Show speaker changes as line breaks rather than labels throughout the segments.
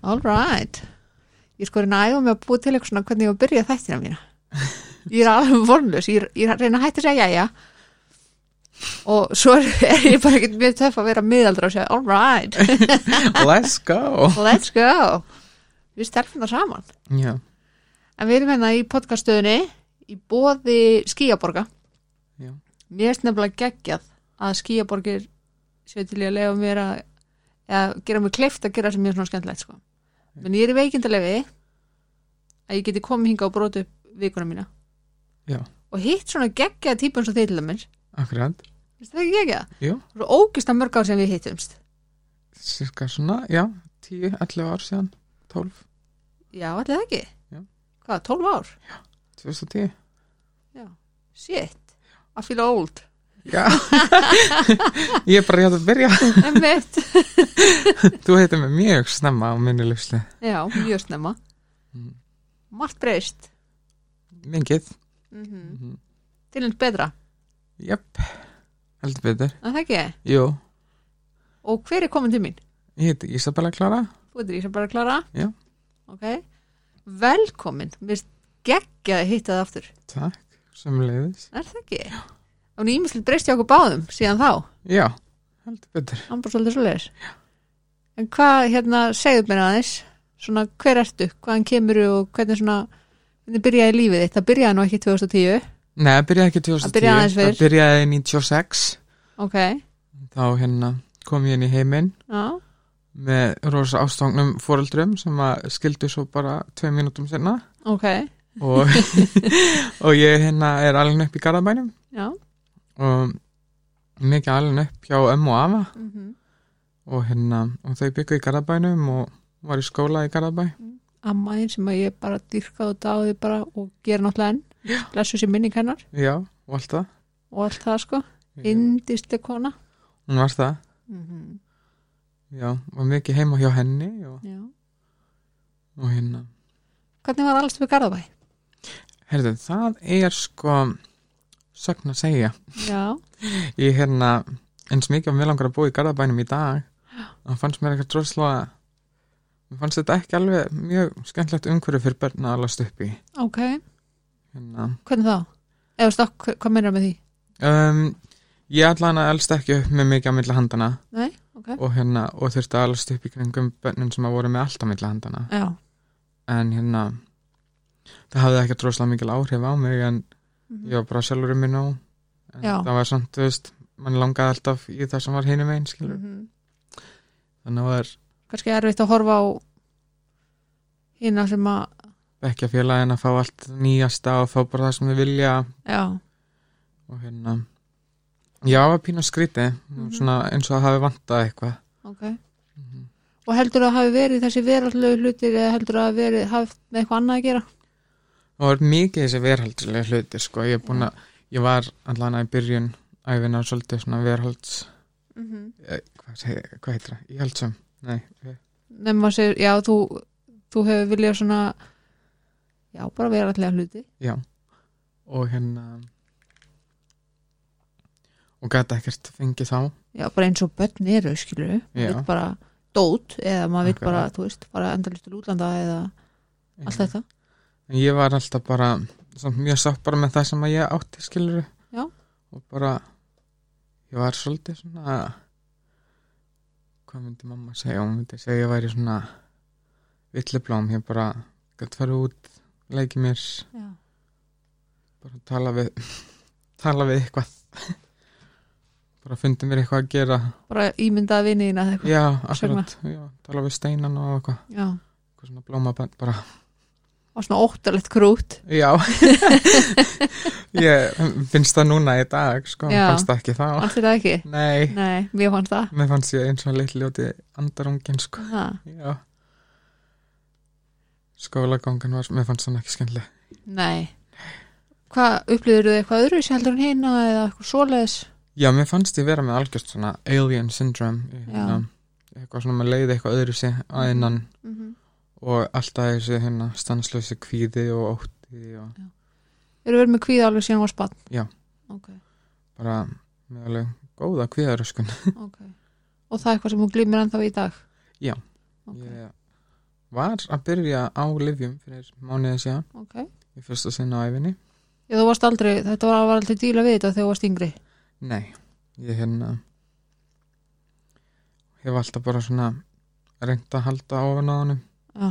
All right. Ég sko reyna að æfa mig að búa til eitthvað svona hvernig ég á að byrja þættina mína. Ég er alveg vonlös, ég, er- ég er að reyna að hætta að segja jæja og svo er ég bara ekkert mjög töff að vera miðaldra og segja all right,
Let's go
let's go. Við stelfum það saman.
Já,
En við erum hérna í podcaststöðunni í bóði skíaborga.
Já.
Mér er nefnilega geggjað að skíaborgir séu til í að lefa mér að eða gera mér kleift að gera sem mér er svona skemmtilegt sko. Men ég er í veikindalegi að ég geti komið hingað og brotið upp vikuna mína.
Já.
Og hitt svona geggjað típa eins og þeir til dæmis.
akkurat
Veistu það ekki geggjað?
Jú,
Svo ógist að mörg ár sem við hittumst.
cirka svona, já, 10, 11 ár síðan 12,
Já, allir það ekki?
Já.
Hvað, 12 ár?
2010
Shit. I feel old.
Já Ég er bara hjá að byrja
Emmett.
Þú heitir mig mjög snemma á minni lífsli
Já, mjög snemma
Mm.
Margt breyst
Mingið
mm
Mhm.
Til hans betra,
Jöp, heldur betur
en það ekki
Jú,
Og hver er komin til mín?
ég heiti Isabella Klara
Þú ert Ísabara Klara
Já.
Ok Velkomin, mér geggja að hitta það aftur
Takk, sem leiðis
Er það ekki? Já Og nýmislega breyst hjá okkur báðum síðan þá
Já, heldur betur
Hann bara svolítið svoleiðis En hvað, hérna, segðu mér aðeins Svona, hver ertu? Hvaðan kemur og hvernig svona Hvernig byrjaði lífið þitt? Það byrjaði nú ekki 2010
Nei, það byrjaði ekki 2010
Það byrjaði aðeins fyrr.
Það byrjaði 96
Ok,
Þá hérna kom ég inn í heiminn
já,
með rosa ástóknum fóreldrum sem að skildu svo bara tvei mínútum senna
ok,
og, og ég hérna er alveg upp í Garðabænum
já
og mikið alveg upp hjá ömmu og afa
mm
og hérna og þau byggu í Garðabænum og var í skóla í Garðabæ
amma þín sem að ég bara dyrkaði og dáði bara og gera náttúrulega enn blessu sér minning hennar
já og allt það
og allt það sko
Já.
indislega kona
hún var það
mm -hmm.
já var mikið heima hjá henni og, og hérna
hvernig var alls við Garðabæ?
herðu það er sko sögn að segja
já,
ég hérna eins mikið að mér langar að búa í Garðabænum í dag þá fannst mér eitthvað drosla mér fannst þetta ekki alveg mjög skemmtlegt umhverju fyrir börn að alast upp í
ok,
hérna.
hvernig þá? eða stokk, hva- hvað meinar með því?
um, ég allan að elst ekki upp með mikið á milli handana
nei, ok,
og, hérna, og þurfti að alast upp í kringum börnum sem að voru með allt á milli handana
já,
en hérna það hafði ekki drosla mikil áhrif á mig en
Mhm.
ég var bara sjálfur um mig nóg en
Mm. Já.
það var samt, þú veist, mann langaði alltaf í það sem var hinum einn, skilur
mm -hmm.
þannig að það var
kannski erfitt að horfa á hérna sem að
ekki að félagin að fá allt nýjasta og fá bara það sem þau vilja
já,
og hérna já, að pína skríti
Mhm.
svona eins og að hafi vantað eitthvað
ok og heldur að hafi verið þessi verallegu hlutir eða heldur að hafi verið hafi með eitthvað annað að gera?
og það er mikið þessi verhaldslega hluti sko, ég er búin að, ég var allan að í byrjun æfina svolítið svona verhalds
Mm -hmm.
eh, hvað, segi, hvað heitir það, íhaldsum nei, eh,
nefnum að segja, já, þú, þú hefur viljað svona já, bara vera allega hluti
já og hérna og gæti ekkert fengið þá
já, bara eins og börn eru, skilur
Já.
við bara dót, eða maður vil
Akkurat.
bara, þú veist, bara endalist til útlanda eða allt þetta
En ég var alltaf bara samt mjög sátt bara með það sem að ég átti skilur
Já.
og bara ég var svolítið svona hvað myndi mamma segja hún myndi segja ég væri svona villublóm, ég bara gætt fara út, leiki mér
já.
bara tala við tala við eitthvað bara fundi mér eitthvað að gera
bara ímyndaða viniðina eða eitthvað
já,
Sjögna.
akkurat, já, tala við steinan og eitthvað,
já,
eitthvað svona blómabend bara
og svona óttalegt krút
Já Ég finnst það núna í dag sko, mér
Já.
fannst það ekki þá
allt þetta ekki,
Nei,
nei, mér fannst það
mér fannst ég eins og litli ljóti andarungin sko,
ha,
já Skólagangan var, mér fannst það ekki skemmtileg
nei hvað, upplýður þú eitthvað öðru sem heldur hún hina eða eitthvað svoleiðis
Já, mér fannst ég vera með algjörst svona alien syndrome ég hérna, eitthvað svona með leið eitthvað öðru sér að innan
mm -hmm.
og alltaf þessi hérna stanslösi kvíði og ótti og
eru verið með kvíða alveg síðan hún var spann
Já.
ok,
bara með alveg góða kvíðaröskun
ok og það er eitthvað sem hún glimir ennþá í dag
Já.
ok,
ég var að byrja á livjum fyrir mánuðið síðan
ok
í fyrsta sinna á æfinni
Já, þú varst aldrei, þetta var, var aldrei díla við þetta þegar þú varst yngri
Nei, ég hérna hef alltaf bara svona reynt að halda ofan á honum
Já,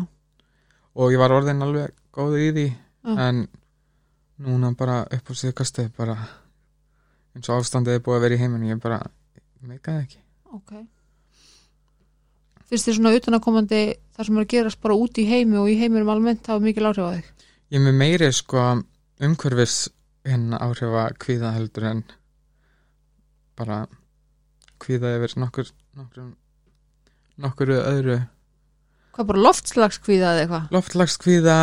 og ég var orðin alveg góð í því
Já.
en núna bara upp á síðkastið bara eins og ástandið er búið að vera í heiminu ég bara meikaði ekki
ok Fyrst þér svona utanakomandi þar sem er að gerast bara út í heimi og í heiminum almennt hafa mikil áhrif á þig
ég er með meiri sko umhverfis hérna áhrifa kvíða heldur en bara kvíða yfir nokkur nokkur, nokkur öðru
Hvað bara loftslagskvíða eða eitthvað?
loftlagskvíða,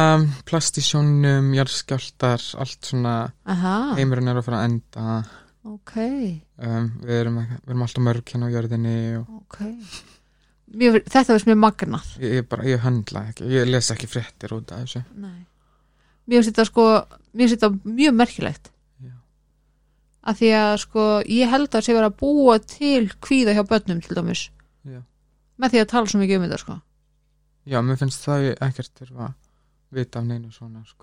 plastisjónum jarðskjáltar, allt svona
Aha,
heimurinn er að fara að enda
ok,
um, við, erum, við erum alltaf mörg hérna á jörðinni og
ok Mér, Þetta var sem ég magnað
ég, ég bara, ég höndla ekki ég les ekki fréttir út af þessu
Nei. Mér finnst þetta sko mér finnst þetta mjög merkilegt
Já.
að því að sko ég held að sé vera að búa til kvíða hjá börnum til dæmis
Já.
með því að tala svo mikið um þetta sko
já, mér finnst það ég ekkert þurfa að vita af neinu svona sko.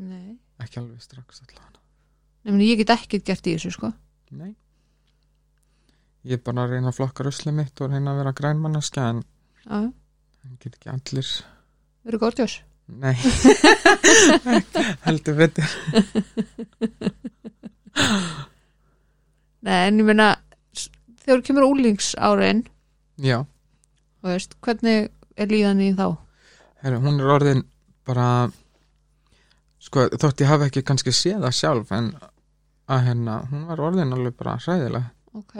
Nei.
ekki alveg strax allavega
Nefnir ég get ekkert gert í þessu sko
nei ég er bara að reyna að flokka ruslið mitt og reyna að vera grænmannaskja en
Já, já.
það get ekki allir
verður gortjós
nei heldur betur
Nei, en ég meina s- þegar kemur úlingsárin
já
og veist, hvernig er líðan í þá?
Heru, hún er orðin bara sko, þótt ég hafi ekki kannski séð það sjálf en að hérna, hún var orðin alveg bara hræðileg
Ok,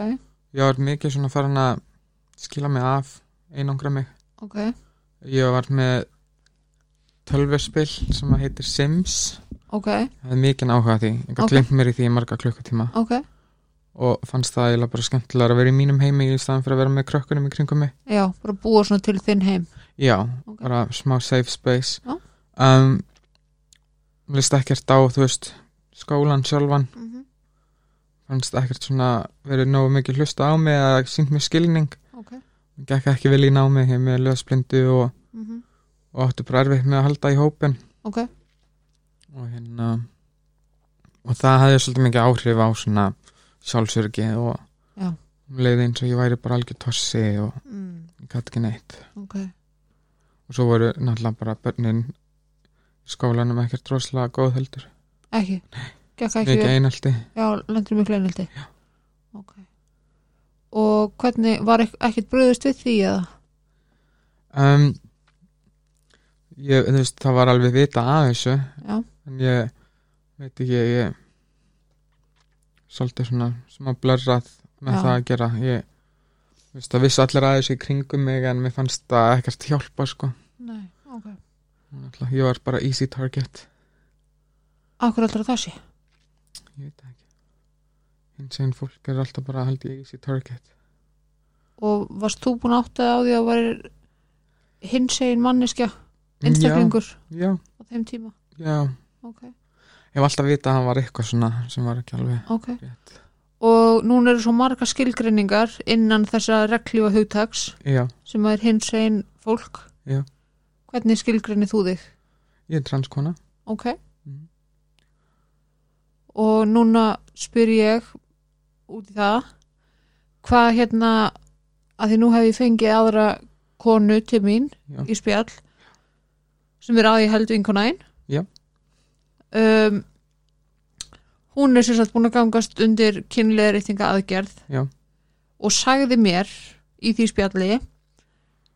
ég var mikið svona farin að skila mig af, einangra mig
ok,
ég var með tölverspil sem að heitir Sims
ok,
það er mikið áhuga á því, ég okay.
Ok.
glimt mér í því í marga klukkutíma
ok
og fannst það eiginlega bara skemmtilega að vera í mínum heimi í staðan fyrir að vera með krökkunum í kringum mig
Já, bara búa svona til þinn heim
Já,
Ok.
bara smá safe space
Já.
um, List ekkert á, þú veist skólan sjálfan,
mm -hmm.
fannst ekkert svona verið nógu mikið hlusta á mig eða sínt mér skilning,
Ok,
gekk ekki vel í námi hef með löðsplindu og,
mm
og áttu bara erfitt með að halda í hópin
ok,
og hérna og það hafði svolítið mikið áhrif á svona sjálfsörgi og
Já.
um leiði eins og ég væri bara algjör tossi og
mm,
gæti ekki neitt
ok
og svo voru náttúrulega bara börnin í skólanum ekkert rosalega góð heldur
Ekki, gekk ekki
mikið
vel
einaldi
Já, lendur miklu einhaldi Ok Og hvernig, var ekk ekkert bröðust við því eða?
um, ég, þú veist, það var alveg vita af þessu
Já,
en ég veit ekki ég svolítið svona smá blörrað með
Já.
það að gera ég þú veist, það vissi allir að þessu í kringum mig en mér fannst það ekkert hjálpa sko.
nei, ok
Alla, ég var bara easy target
Akkur allra það sé
ég veit það ekki hins einn fólk er alltaf bara held ég easy target
Og varst þú búin átt að á því að var hinsegin manneskja, einstaklingur
já,
á þeim tíma
já, já,
Ok,
ég var alltaf að vita að hann var eitthvað svona sem var ekki alveg
ok
rétt
Og núna eru svo marga skilgreiningar innan þessa reglífa hugtaks
já,
sem að er hinsegin fólk
Já.
Hvernig skilgreinir þú þig?
ég er transkona
Ok
Mhm.
Og núna spyr ég út í það hvað hérna að því nú hef ég fengið aðra konu til mín
Já.
í spjall sem er að ég held vinkonæn
Já.
um, Hún er sem sagt búin að gangast undir kynlega reytinga aðgerð
Já.
og sagði mér í því spjalli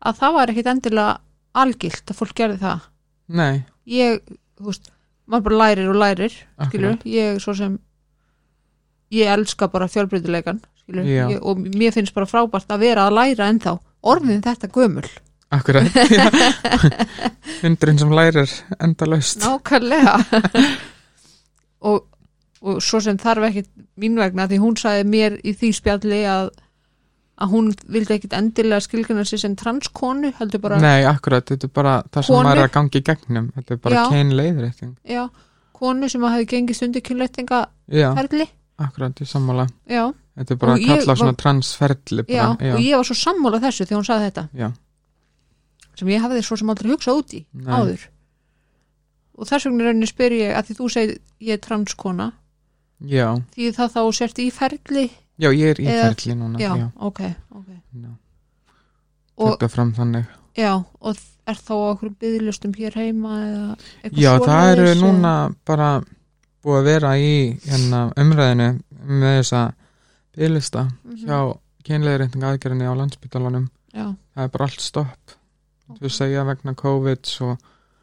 að það var ekkit endilega algilt að fólk gerði það
nei,
ég, þú veist, maður bara lærir og lærir, skilur, ég svo sem ég elska bara fjölbreytileikan, skilur,
Já.
ég, og mér finnst bara frábært að vera að læra ennþá orðin þetta gömul,
Akkurat Hundurinn sem lærir endalaust
nákvæmlega og, og svo sem þarf ekkit mín vegna, því hún sagði mér í því spjalli að að hún vildi ekkit endilega skilgjana sér sem transkonu, heldur bara
Nei, akkurat, þetta er bara það sem
Konur.
maður er að gangi í gegnum Þetta er bara
Já.
kein leiðrétting
já, konu sem að hafi gengist undir kynleitinga
Já,
ferli,
akkurat, ég sammála
já
Þetta er bara
Og
að
ég
kalla á svona
var-
transferli
já,
bara,
og ég var svo sammála þessu þegar hún sagði þetta
Já.
sem ég hafiði svo sem aldrei hugsað út í
Nei.
áður og þess vegna rauninni spyr ég að því þú segir ég er transkona
já,
því það þá sért í ferli
já, ég er í
Eða-
ferli núna
já,
já, já.
ok, ok Og-
þetta fram þannig
já, og er þá á okkur byðlustum hér heima eða eitthvað
Já, það eru
svoleiðis,
núna bara búið að vera í hérna, umræðinu með þessa bylista
Mhm.
hjá kynleirreitinga aðgerðinni á landsbytalanum.
já,
Það er bara allt stopp. Þú segja vegna COVID svo,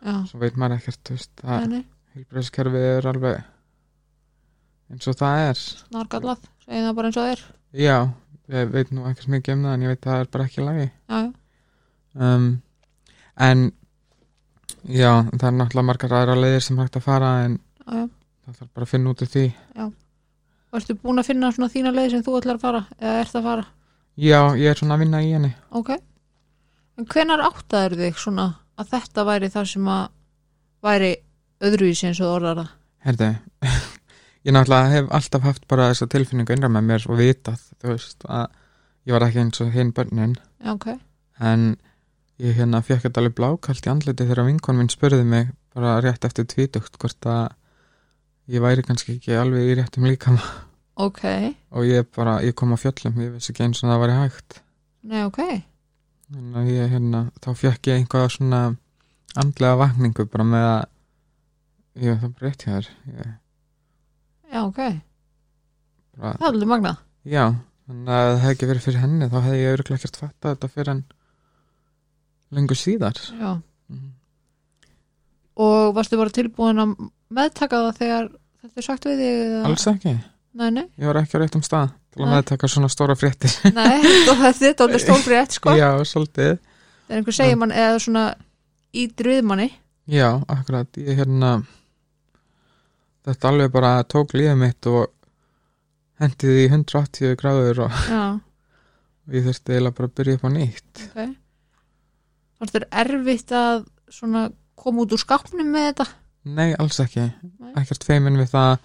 já,
svo veit maður ekkert, þú veist, það
þannig,
heilbreyðskerfið er alveg eins og það er.
snarkallað segið það bara eins og það er
Já, ég veit nú ekkert mikið um það en ég veit að það er bara ekki í lagi.
já, já,
um, en já, það er náttúrulega margar aðra leiðir sem hægt að fara en
já, já
það þarf bara að finna út úr því
og ertu búin að finna svona þína leið sem þú ætlar að fara eða ert að fara,
já, ég er svona að vinna í henni
ok en hvenar áttaður þig svona að þetta væri það sem að væri öðruvísi eins og þú orðar það
herðu, ég náttúrulega hef alltaf haft bara þessa tilfinningu innra með mér og vitað, þú veist, að ég var ekki eins og hinn börnin
já, ok,
en ég hérna fekk þetta alveg blákalt í andliti þegar vinkon minn spurði mig bara rétt eftir tvítugt hvort að ég væri kannski ekki alveg í réttum líkama
ok
og ég bara, ég kom á fjöllum, ég vissi ekki eins og það væri hægt
nei, ok,
Þannig að ég, hérna, þá fekk ég einhvað svona andlega vakningu bara með að ég það bara rétt hjá þér ég,
já, ok
bara,
það er alveg magnað
já, þannig að ef það hefði ekki verið fyrir henni þá hefði ég örugglega ekkert fattað þetta fyrir en lengur síðar Mhm.
já. og varstu bara tilbúin að meðtaka það þegar þetta er sagt við þig eða-
alls ekki,
nei, nei,
ég var ekki á réttum stað til að
Nei.
meðtaka svona stóra fréttir
nei þetta er alveg stór rétt sko
já, svolítið,
þegar einhver segir mann eða svona í dröðmanni
já, akkurat ég hérna þetta alveg bara tók lífið mitt og hendið í 180 gráður og
já,
ég þurfti eiginlega bara að byrja upp á nýtt
ok fannst þér erfitt að svona koma út úr skapnum með þetta
Nei, alls ekki, ekkert feiminn við það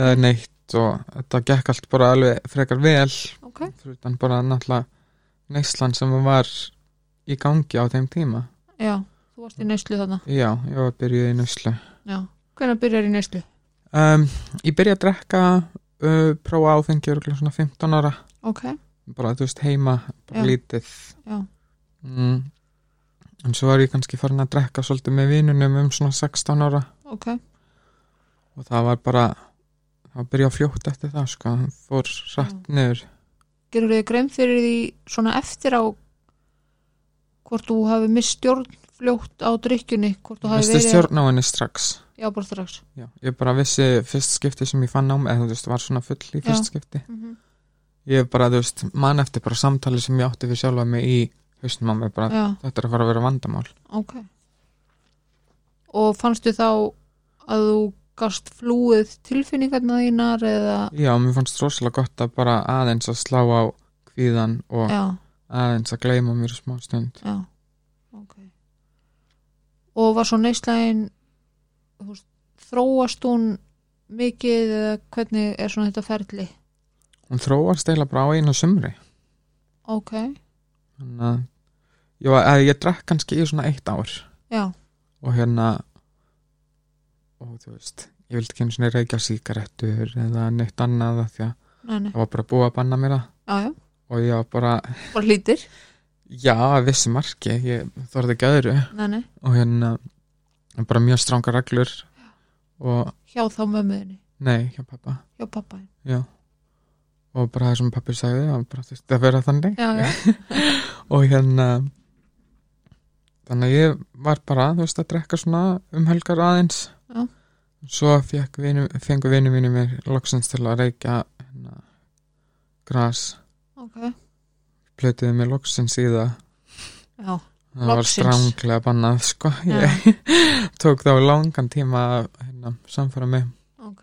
eða neitt og þetta gekk allt bara alveg frekar vel
ok,
fyrir utan bara náttúrulega neyslan sem var í gangi á þeim tíma
já, þú varst í neyslu þarna
Já, ég var að byrja í nyslu
já, hvenær byrjar í neyslu
um, Ég byrja að drekka uh, prófa áfengi örugglega svona 15 ára
ok,
bara þú veist heima, bara
Já.
lítið
Já.
mm. En svo var ég kannski farin að drekka svolítið með vinunum um svona 16 ára
ok,
og það var bara það byrja fljótt eftir það sko hann fór rætt niður
gerur þið grein fyrir því svona eftir á hvort þú hafi mistjórn fljótt á drikkjunni hvort þú hafi
misti
verið
stjórn á henni strax
já, bara strax
já, ég bara vissi fyrst skipti sem ég fann á mig eða þú veist var svona full í fyrst skipti
mm
ég bara þú veist man eftir bara samtali sem ég átti fyrir sjálfa mig í hausnum á mig bara
já,
þetta er að fara að vera vandamál
ok og fannstu þá að þú gast flúið tilfinningarna þínar eða
já, mér fannst rosalega gott að bara aðeins að slá á kvíðan og
já,
aðeins að gleyma mér í smá stund
já, ok og var svo neyslægin þróast hún mikið eða hvernig er svona þetta ferli
hún þróast eiginlega bara á einu sumri
ok,
þannig að ég, var, að ég drakk kannski í svona eitt ár
já,
og hérna og þú veist ég vildi ekki einu svona reykja síkarettur eða neitt annað af því að
nei, nei,
það var bara búið að banna mér það
já, já
og ég var bara,
bara hlýtir,
já, að vissi marki ég þorði ekki að öðru
nei, nei,
og hérna bara mjög stránga reglur og
hjá þá mömmuðinni
nei, hjá pappa
hjá pappa
já og bara það sem pappi sagði það bara þurfti að vera þannig
já, já,
og hérna þannig að ég var bara þú veist að drekka svona um helgar aðeins
Já.
svo fekk vinu, fengu vinnu mínu mér loksins til að reykja hérna, gras
ok
plötuðu mér loksins í það
já,
það var
Loksins.
stránglega bannað sko ég tók þá langan tíma að hérna, samfara mig
ok,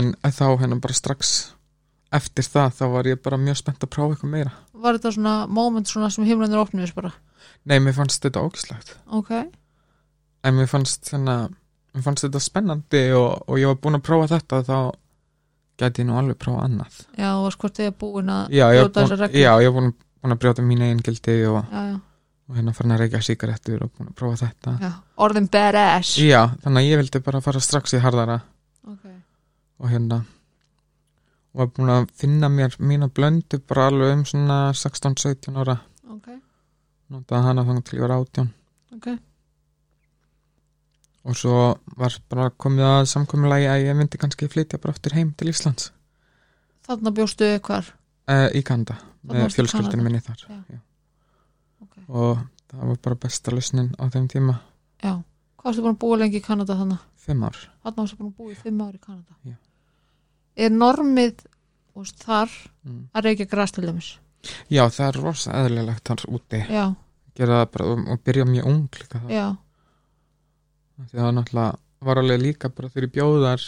en þá hérna bara strax eftir það þá var ég bara mjög spennt að prófa eitthvað meira
var þetta svona moment svona sem himlanir opnuðis bara,
nei, mér fannst þetta ógislegt
ok
en mér fannst þannig mér fannst þetta spennandi og, og ég var búin að prófa þetta þá gæti ég nú alveg prófa annað
já, þú varst hvort þegar búin að
já, ég var
brjóta
búin,
þessar reglur.
já, ég var búin, búin að brjóta mín eigin gildi og
já, já,
og hérna farin að reykja síkarettur og búin að prófa þetta
já. orðin badass
já, þannig að ég vildi bara fara strax í harðara
okay.
og hérna og var búin að finna mér mína blöndu bara alveg um svona 16-17 ára
ok,
notaði hana þannig til ég var 18
ok
og svo var bara komið að samkominlagi að ég myndi kannski flytja bara aftur heim til Íslands
þarna bjóstu hvar
uh, í Kanda
Þarna varstu í
með
Kanada.
fjölskyldinu minni þar
Já. Ok.
og það var bara besta lausnin á þeim tíma
já, hvað erstu búin að búa lengi í Kanada þannig
fimm ár
þarna varstu búin að búa í fimm ári í Kanada
Já.
er normið þú veist, þar
mm.
að reykja græs til dæmis
já það er rosa eðlilegt þar úti
já,
gera það bara og, og byrja mjög ung líka það
já,
því það var náttúrulega var alveg líka bara þegar ég bjóðar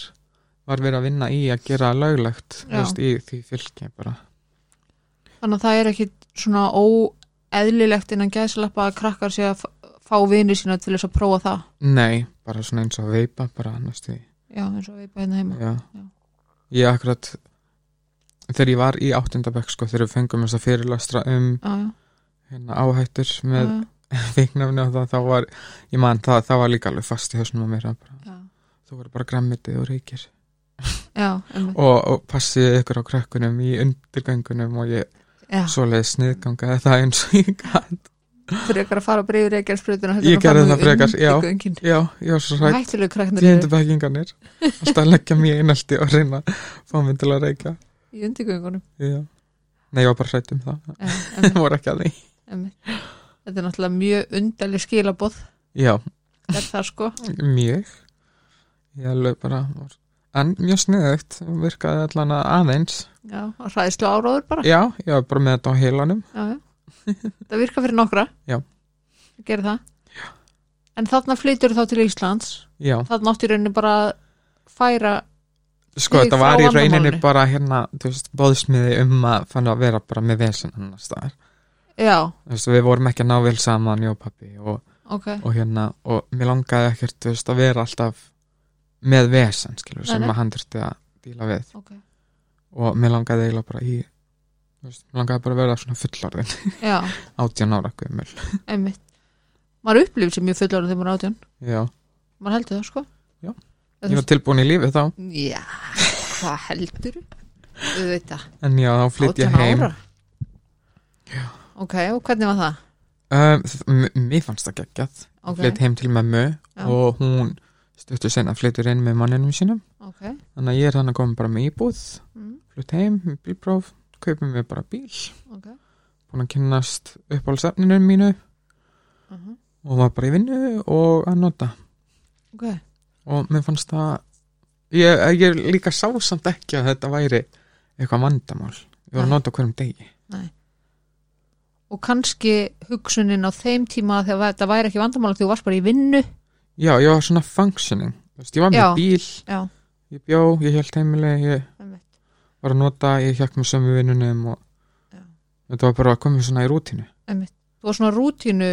var verið að vinna í að gera löglegt þú
Já.
veist, í því fylki bara
þannig að það er ekki svona óeðlilegt innan gæðslappa að krakkar sé að f- fá vinir sína til þess að prófa það
nei, bara svona eins og veipa bara næstu því
já, eins og við bæðum heima
Já.
Já.
Ég akkurat þegar ég var í áttundabæk sko þegar við fengum þess að fyrirlastra um
já, já,
hérna, áhættur með
já,
viknafni og það þá var ég man það, það var líka alveg fast í hausnum á mér að bara,
já,
þú voru bara græmmitið og reykir
já, einmitt.
og, og passið ykkur á krakkunum í undirgöngunum og ég
já.
svoleiði sniðgangaði það eins og ég gætt
frekar að fara að breyður reykja sprutuna
Ég gerði það frekar, já. Já, ég var svo hrætt
hættilegu krakknar eru
tíundabækinganir alltaf að leggja mér einaldi og reyna að fá mig til að reykja
í undirgöngunum
Já. Nei, ég var bara hrætt um það
Já, einmitt,
það voru ekki að því
einmitt. þetta er náttúrulega mjög undalig skilaboð
Já,
er það sko
mjög ég alveg bara var en mjög sniðugt, virkaði allan að aðeins
já, hræðislu áróður bara
já, ég var bara með þetta á heilanum
já, já. það virka fyrir nokkra
Já.
Það gerir það en þarna flytur þá til Íslands
já,
þarna átti í rauninni bara að færa
sko
Þig
þetta
frá
var í rauninni
vandamálinu.
bara hérna, þú veist, bóðsmiði um að fann að vera bara með vesen annars staðar,
já,
þú veist, við vorum ekki að ná vel saman, ég og pappi og,
ok,
og hérna, og mér langaði ekkert, þú veist, að vera alltaf með vesen, skilur,
Nei,
sem
nei.
að hann þurfti að díla við
ok
og mér langaði eiginlega bara í þú veist, mér langaði bara að vera svona fullorðin
já,
18 ára gömul,
einmitt maður upplifir sér mjög fullorðin þegar maður er átjón
já
maður heldur það sko
Já.
Eða
Ég
þú
var tilbúin í lífið þá,
Já, hvað heldur Þú veit það,
en já, þá flytt ég
18
heim.
ára Ok, og hvernig var það?
Um, þ- m- mér fannst það geggjað.
Ok,
Okay. Flytt heim til mömmu
Já.
og hún stöttu sen að flyttur inn með manninum sínum.
ok
Þannig að ég er þannig að koma bara með íbúð,
mm,
flytt heim, með bílpróf, kaupum við bara bíl,
Ok,
búin að kynnast uppáhaldsefninu mínu
uh
og var bara í vinnu og að nota.
ok
Og mér fannst það, ég, ég líka sá samt ekki að þetta væri eitthvað vandamál. Ég var að
Nei.
nota á hverjum degi.
Og kannski hugsunin á þeim tíma þegar þetta væri ekki vandamál því þú varst bara í vinnu
Já, ég var svona functioning. Þú veist, ég var með
Já.
bíl,
Já,
ég bjó, ég held heimileg, ég
einmitt
var að nota, ég hjekk með sömu vinnunum og
Já.
þetta var bara að koma svona í rútínu.
Þú var svona rútínu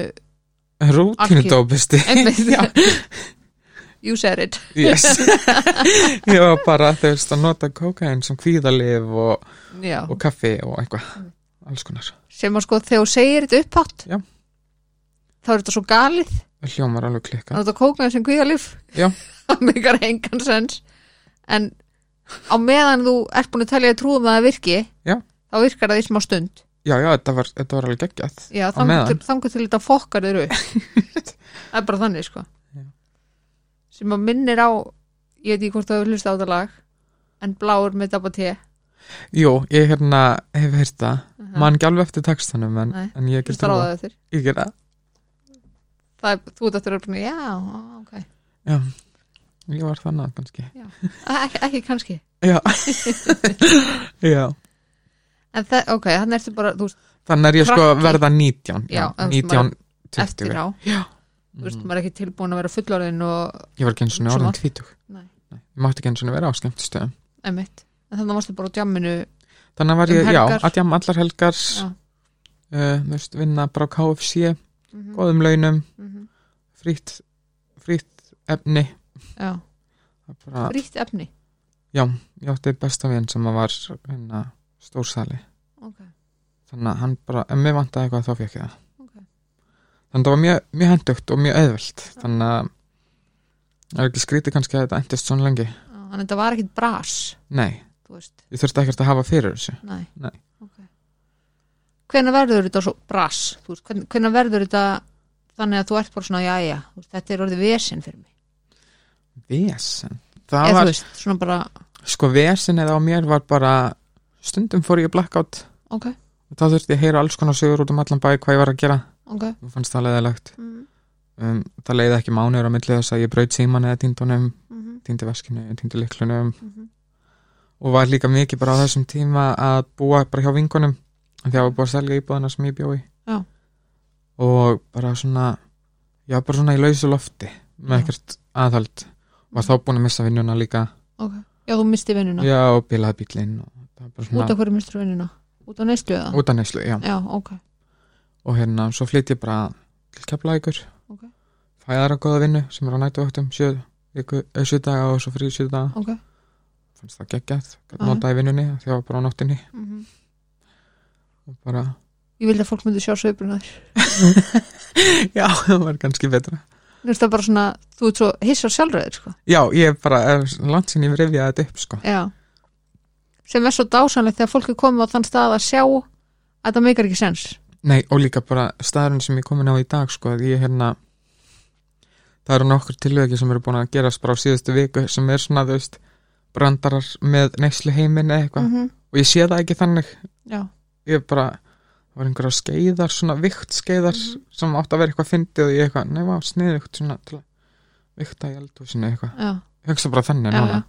Rútínu
Algjör.
dópisti.
Einmitt You said it
yes. ég var bara þú veist að nota kókain sem kvíðalif og,
Já,
og kaffi og eitthvað, alls konar.
sem að sko þegar þú segir þetta upphátt
Já.
Þá er þetta svo galið
Það hljómar alveg
Þannig
klikka.
að þetta kóknaði sem kvíðalif
Já.
Það meikar engan sens En á meðan þú ert búin að telja um að trúum að það virki
Já.
Þá virkar það í smá stund
Já, já, þetta var, þetta var alveg geggjað.
Já,
Á
þangur
meðan?
til, þangur til þetta fokkar þér upp Það er bara þannig sko
Já.
Sem að minnir á Ég veit ekki hvort það er hlusta á þetta lag En bláur með dabba te
Jú, ég hérna hef heyrt það.
Mhm.
Man ekki alveg eftir textanum en,
Nei,
en ég get
Hlustar á
það.
það eftir
Ég get það.
Það er, þú ert eftir að búin Já, á, ok
Já, ég var þannig kannski.
Ek, Ekki kannski
Já. já.
En það, ok, hann ertu bara, þú veist,
Þannig er ég sko
Krakki.
að verða 19 já,
Já, en þú veist,
19,
eftir
20
á Þú veist,
mm.
maður er ekki tilbúin að vera fullorðin og
Ég var ekki eins og
Svona.
orðin 20
Nei.
Nei, Ég mátti ekki eins og vera á skemmtistöðum
Emitt. En þannig varstu bara á djamminu
Þannig var
Um
ég, já,
helgar.
að jam allar helgar
Já.
uh, Þú veist, vinna bara á KFC
mm
Góðum launum,
-hmm.
frýtt frýtt efni
Já,
Það bara,
frítt efni
Já, ég átti besta vinn sem að var hérna, stórsali
Ok.
Þannig að hann bara, ef mér vantaði eitthvað þá fekk ég það
Ok.
þannig að það var mjög, mjög hendugt og mjög auðvelt þannig að það er ekki skrítið kannski að þetta endist svona lengi
Þannig að þetta var ekkit bras,
nei,
þú veist,
ég þurfti ekkert að hafa fyrir þessu
nei.
Nei.
Ok. Hvenær verður þetta svo bras? Þú veist, hvern- hvenær verður þetta þannig að þú ert bara svona, já, já, veist, þetta er orðið vesinn fyrir mig.
vesen, það
Eða þú
var
veist, svona bara,
sko vesenið á mér var bara stundum fór ég í blackout
ok,
og þá þurfti ég að heyra alls konar sögur út um allan bæ hvað ég var að gera
ok.
og fannst það leiðilegt
Mm,
um, það leiði ekki mánuður á milli þess að ég braut síman eða tíndunum,
mhm,
tíndi veskinu tíndi liklunum
mhm.
og var líka mikið bara á þessum tíma að búa bara hjá vingunum því að var búið að selja íbúðina sem ég bjói
Já.
og bara svona já, bara svona í lausu lofti
Já.
með ekkert aðhald var þá búin að missa vinnuna líka
Ok, já, þú misti vinnuna.
já, og bilaði bílinn og það var bara
Út
svona
af hverju mistur vinnuna? Út af neyslu eða?
út af neyslu, já
Já, ok.
og hérna, svo flytt ég bara til keflækur
Ok.
fæðar að góða vinnu sem er á nætuvöktum sjö, viku- eh, sjö daga og svo frí sjö daga
Ok.
fannst það geggjað, gæti
Aha.
notaði vinnunni því að var bara á nóttinni
mhm.
og bara,
Ég vildi að fólk myndi sjá sveipurinn á þér.
já, það var kannski betra
Þú veist það bara svona, þú ert svo hissa sjálfröður, sko.
Já, ég er bara, er langt sinni ég rifjaði þetta upp, sko.
Já. Sem er svo dásanlegt þegar fólk er komið á þann stað að sjá að það meikar ekki sens.
Nei, og líka bara staðurinn sem ég er komin á í dag, sko, að ég hérna, það eru nokkur tilveki sem eru búin að gerast bara á síðustu viku sem er svona, þú veist, brandarar með neyslu heiminn eða eitthvað
-hmm.
og ég sé það ekki þannig,
Já.
ég er bara, það var einhverja skeiðar, svona vikt skeiðar
Mhm.
sem átt að vera eitthvað fyndið og ég eitthvað, nei, vá, sniðugt svona til að vikta í eldhúsinu eitthvað,
Já.
ég hugsa bara þannig
Já,
núna,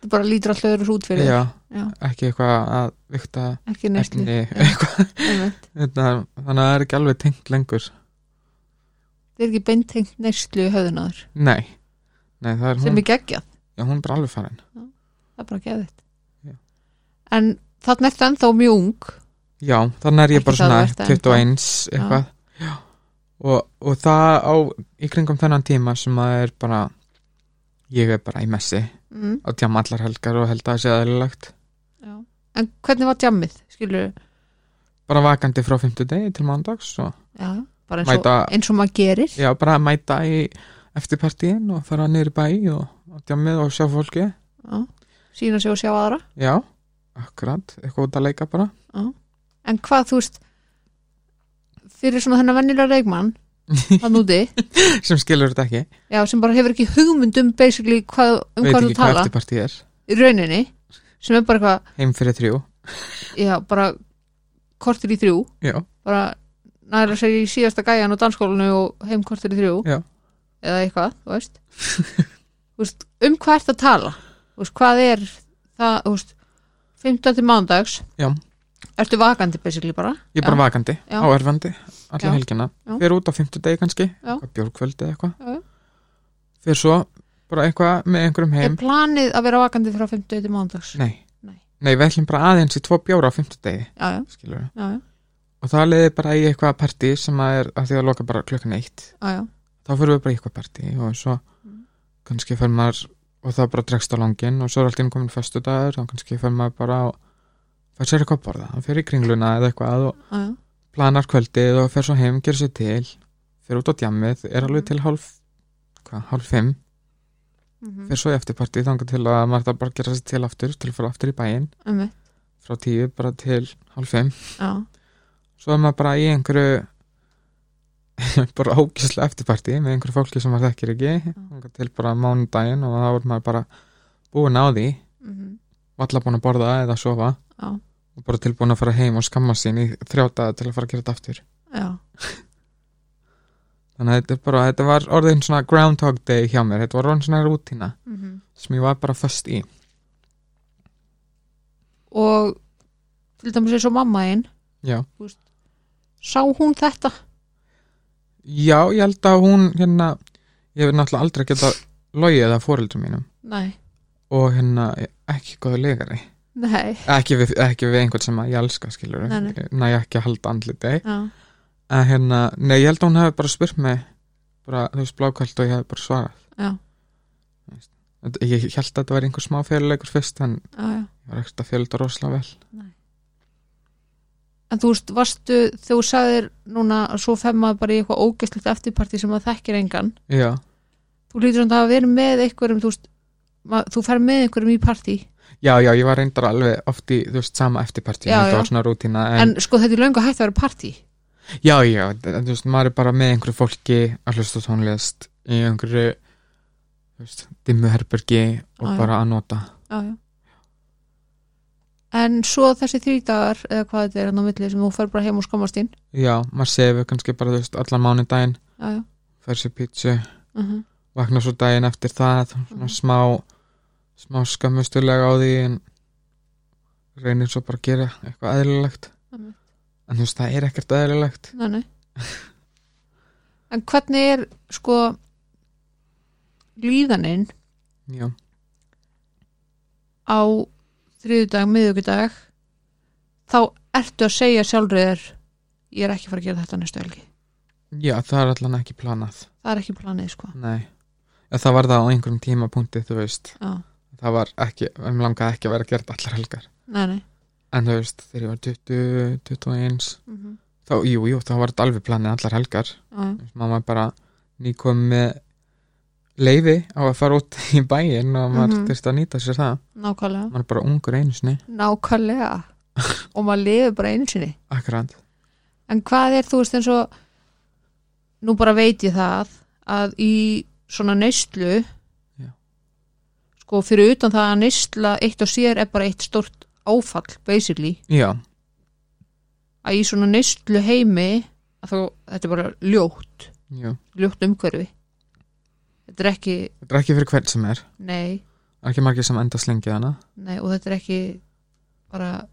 Það bara lítur alltaf öðru út fyrir þér.
já,
Já.
ekki eitthvað að vikta
Ekki neyslu.
efni, eitthvað.
einmitt.
Þetta, þannig að það er ekki alveg tengt lengur
Það er ekki beintengt neyslu í höfðunáður.
Nei, Nei það er
Sem
hún,
er geggjað.
já, hún er bara alveg farin
Það er bara geðvitt.
Já.
En þarna ertu ennþá mjög ung.
Já, þannig er ég
Ekki
bara
það
svona
versta en
21 eitthvað já. Og, og það á í kringum þennan tíma sem að er bara ég er bara í messi
Mm.
á tjáma allar helgar og held að það sé aðlilegt
Já. En hvernig var djammið, skilur
bara vakandi frá 50 degi til mándags og
Já, bara eins og,
mæta,
eins og maður gerir.
já, bara mæta í eftir partíin og fara niður í bæ og tjámið og sjá fólki
Já. Sýna sig og sjá aðra.
Já, akkurat, eitthvað út að leika bara
En hvað, þú veist, fyrir svona þennan vennilega reikmann, hann úti,
sem skilur þetta ekki
já, sem bara hefur ekki hugmynd um basically hvað, um
veit
hvað þú
ekki hvað
tala,
eftirpartið er
í rauninni, sem er bara eitthvað,
heim fyrir þrjú
já, bara kortir í þrjú
já,
bara næra sér í síðasta gæjan og dansskólanu og heim kortir í þrjú
Já.
eða eitthvað, þú veist Þú veist, um hvað ert að tala Þú veist, hvað er það, þú veist 15. mándags
Já.
ertu vakandi basically bara
ég er
Já.
bara vakandi,
Já.
áerfandi alla
Já.
helgina,
Já.
fyrir út á fimmtudegi kannski
Já.
eitthvað bjórkvöldi eða
Já, já.
eitthvað fyrir svo bara eitthvað með einhverjum
er
heim
planið að vera vakandi frá 15. mándags já,
nei.
Nei.
nei, við ætlum bara aðeins í tvo bjóra á fimmtudegi
já,
skilur við,
já, já,
og það leiði bara í eitthvað partí sem að er að því að loka bara klukkan eitt
já, já.
þá fyrir við bara í eitthvað partí og svo
Mm.
kannski fyrir maður og það bara dregst á langin og svo er allt inn komin föstudagur og kannski fyrir maður bara og fær sér eitthvað að borða, hann fyrir í kringluna eða eitthvað og
já, já.
planar kvöldið og fer svo heim, gerir sér til fer út á djammið, er alveg til hálf hvað, hálf fimm
Mhm.
fer svo í eftirpartið þangar til að maður þarf bara að gera sér til aftur til að fara aftur í bæinn
Einmitt,
frá tíu bara til hálf fimm
já,
svo er maður bara í einhverju bara ógislega eftirpartið með einhverju fólki sem maður þekkir ekki þangar til bara mánudaginn og þá er maður bara búin á því
mhm,
valla búin að borða eða sofa
Já.
og bara tilbúin að fara heim og skamma sín í þrjáta til að fara að gera þetta aftur
já,
Þannig að þetta, er bara, þetta var orðin svona Groundhog Day hjá mér, þetta var orðin svona rútina
mhm.
sem ég var bara föst í.
og til dæmis eins og mamma einn
Já.
sá hún þetta
Já, ég held að hún hérna, ég hef náttúrulega aldrei geta logið að fóreldrum mínum
nei,
og hérna ég er ekki góður leikari.
nei,
Ekki við, ekki við einhvern sem að ég elska skilur,
Nei, nei.
næ ekki að halda andliti.
já,
En hérna, nei, ég held að hún hefði bara spurt mig, bara, þú veist, blákvælt og ég hefði bara svarað.
já,
Þetta- Ég held að þetta var einhver smá fyrirleikur fyrst en
já, já.
ég var ekkert að fjölda rosalega vel.
en en þú veist, varstu þegar þú sagðir núna að svo fer maður bara í eitthvað ógæstlegt eftirparti sem maður þekkir engan
já,
þú lítur samt að hafa verið með einhverjum þú veist, mað, þú fer með einhverjum í partí
já, já, ég var reyndar alveg oft í, þú veist, sama eftirparti
Já,
þetta
já.
var svona rútína,
en,
en,
sko þetta er löngu hægt að vera partí
já, já en, þú veist, maður er bara með einhverju fólki að hlusta á tónlist í einhverju þú veist, dimmuherbergi og
Já, já.
bara að nota
já, já. en svo þessi þrý dagar eða hvað þetta er hann á milli sem þú fer bara heim og skammast inn
já, maður sefur kannski bara, þú veist, allan mánudaginn
já, já,
fer sér pítsu,
uh -huh.
vakna svo daginn eftir það svona
Mhm.
smá smá skamustulega á því en reynir svo bara að gera eitthvað eðlilegt
Einmitt.
en þú veist það er ekkert eðlilegt
Nei, nei. en hvernig er sko líðaninn
já,
á þriðudag, miðugudag þá ertu að segja sjálfröður ég er ekki að fara að gera þetta næstu helgi
já það er allan ekki planað
það er ekki planið sko
nei, ja, það var það á einhverjum tímapunkti þú veist,
Já,
það var ekki um langaði ekki að vera gert allar helgar
nei, nei.
en þú veist, þegar ég var 20, 21
Mm -hmm.
þá, jú, jú, þá var þetta alveg planið allar helgar
Já,
Þú veist, maður bara nýkom með leiði á að fara út í bæinn og maður mm
Mhm.
að nýta sér það
nákvæmlega
maður er bara ungur einu sinni
nákvæmlega og maður lifir bara einu sinni
akkurat,
en hvað er þú veist eins og nú bara veit ég það að í svona neyslu
Já.
sko fyrir utan það að neysla eitt og sér er bara eitt stort áfall basically
já,
að í svona neyslu heimi að þá, þetta er bara ljótt
jú
ljótt umhverfi þetta er ekki,
þetta er ekki fyrir hvern sem er,
nei,
það er ekki margir sem enda slengið hana
nei og þetta er ekki bara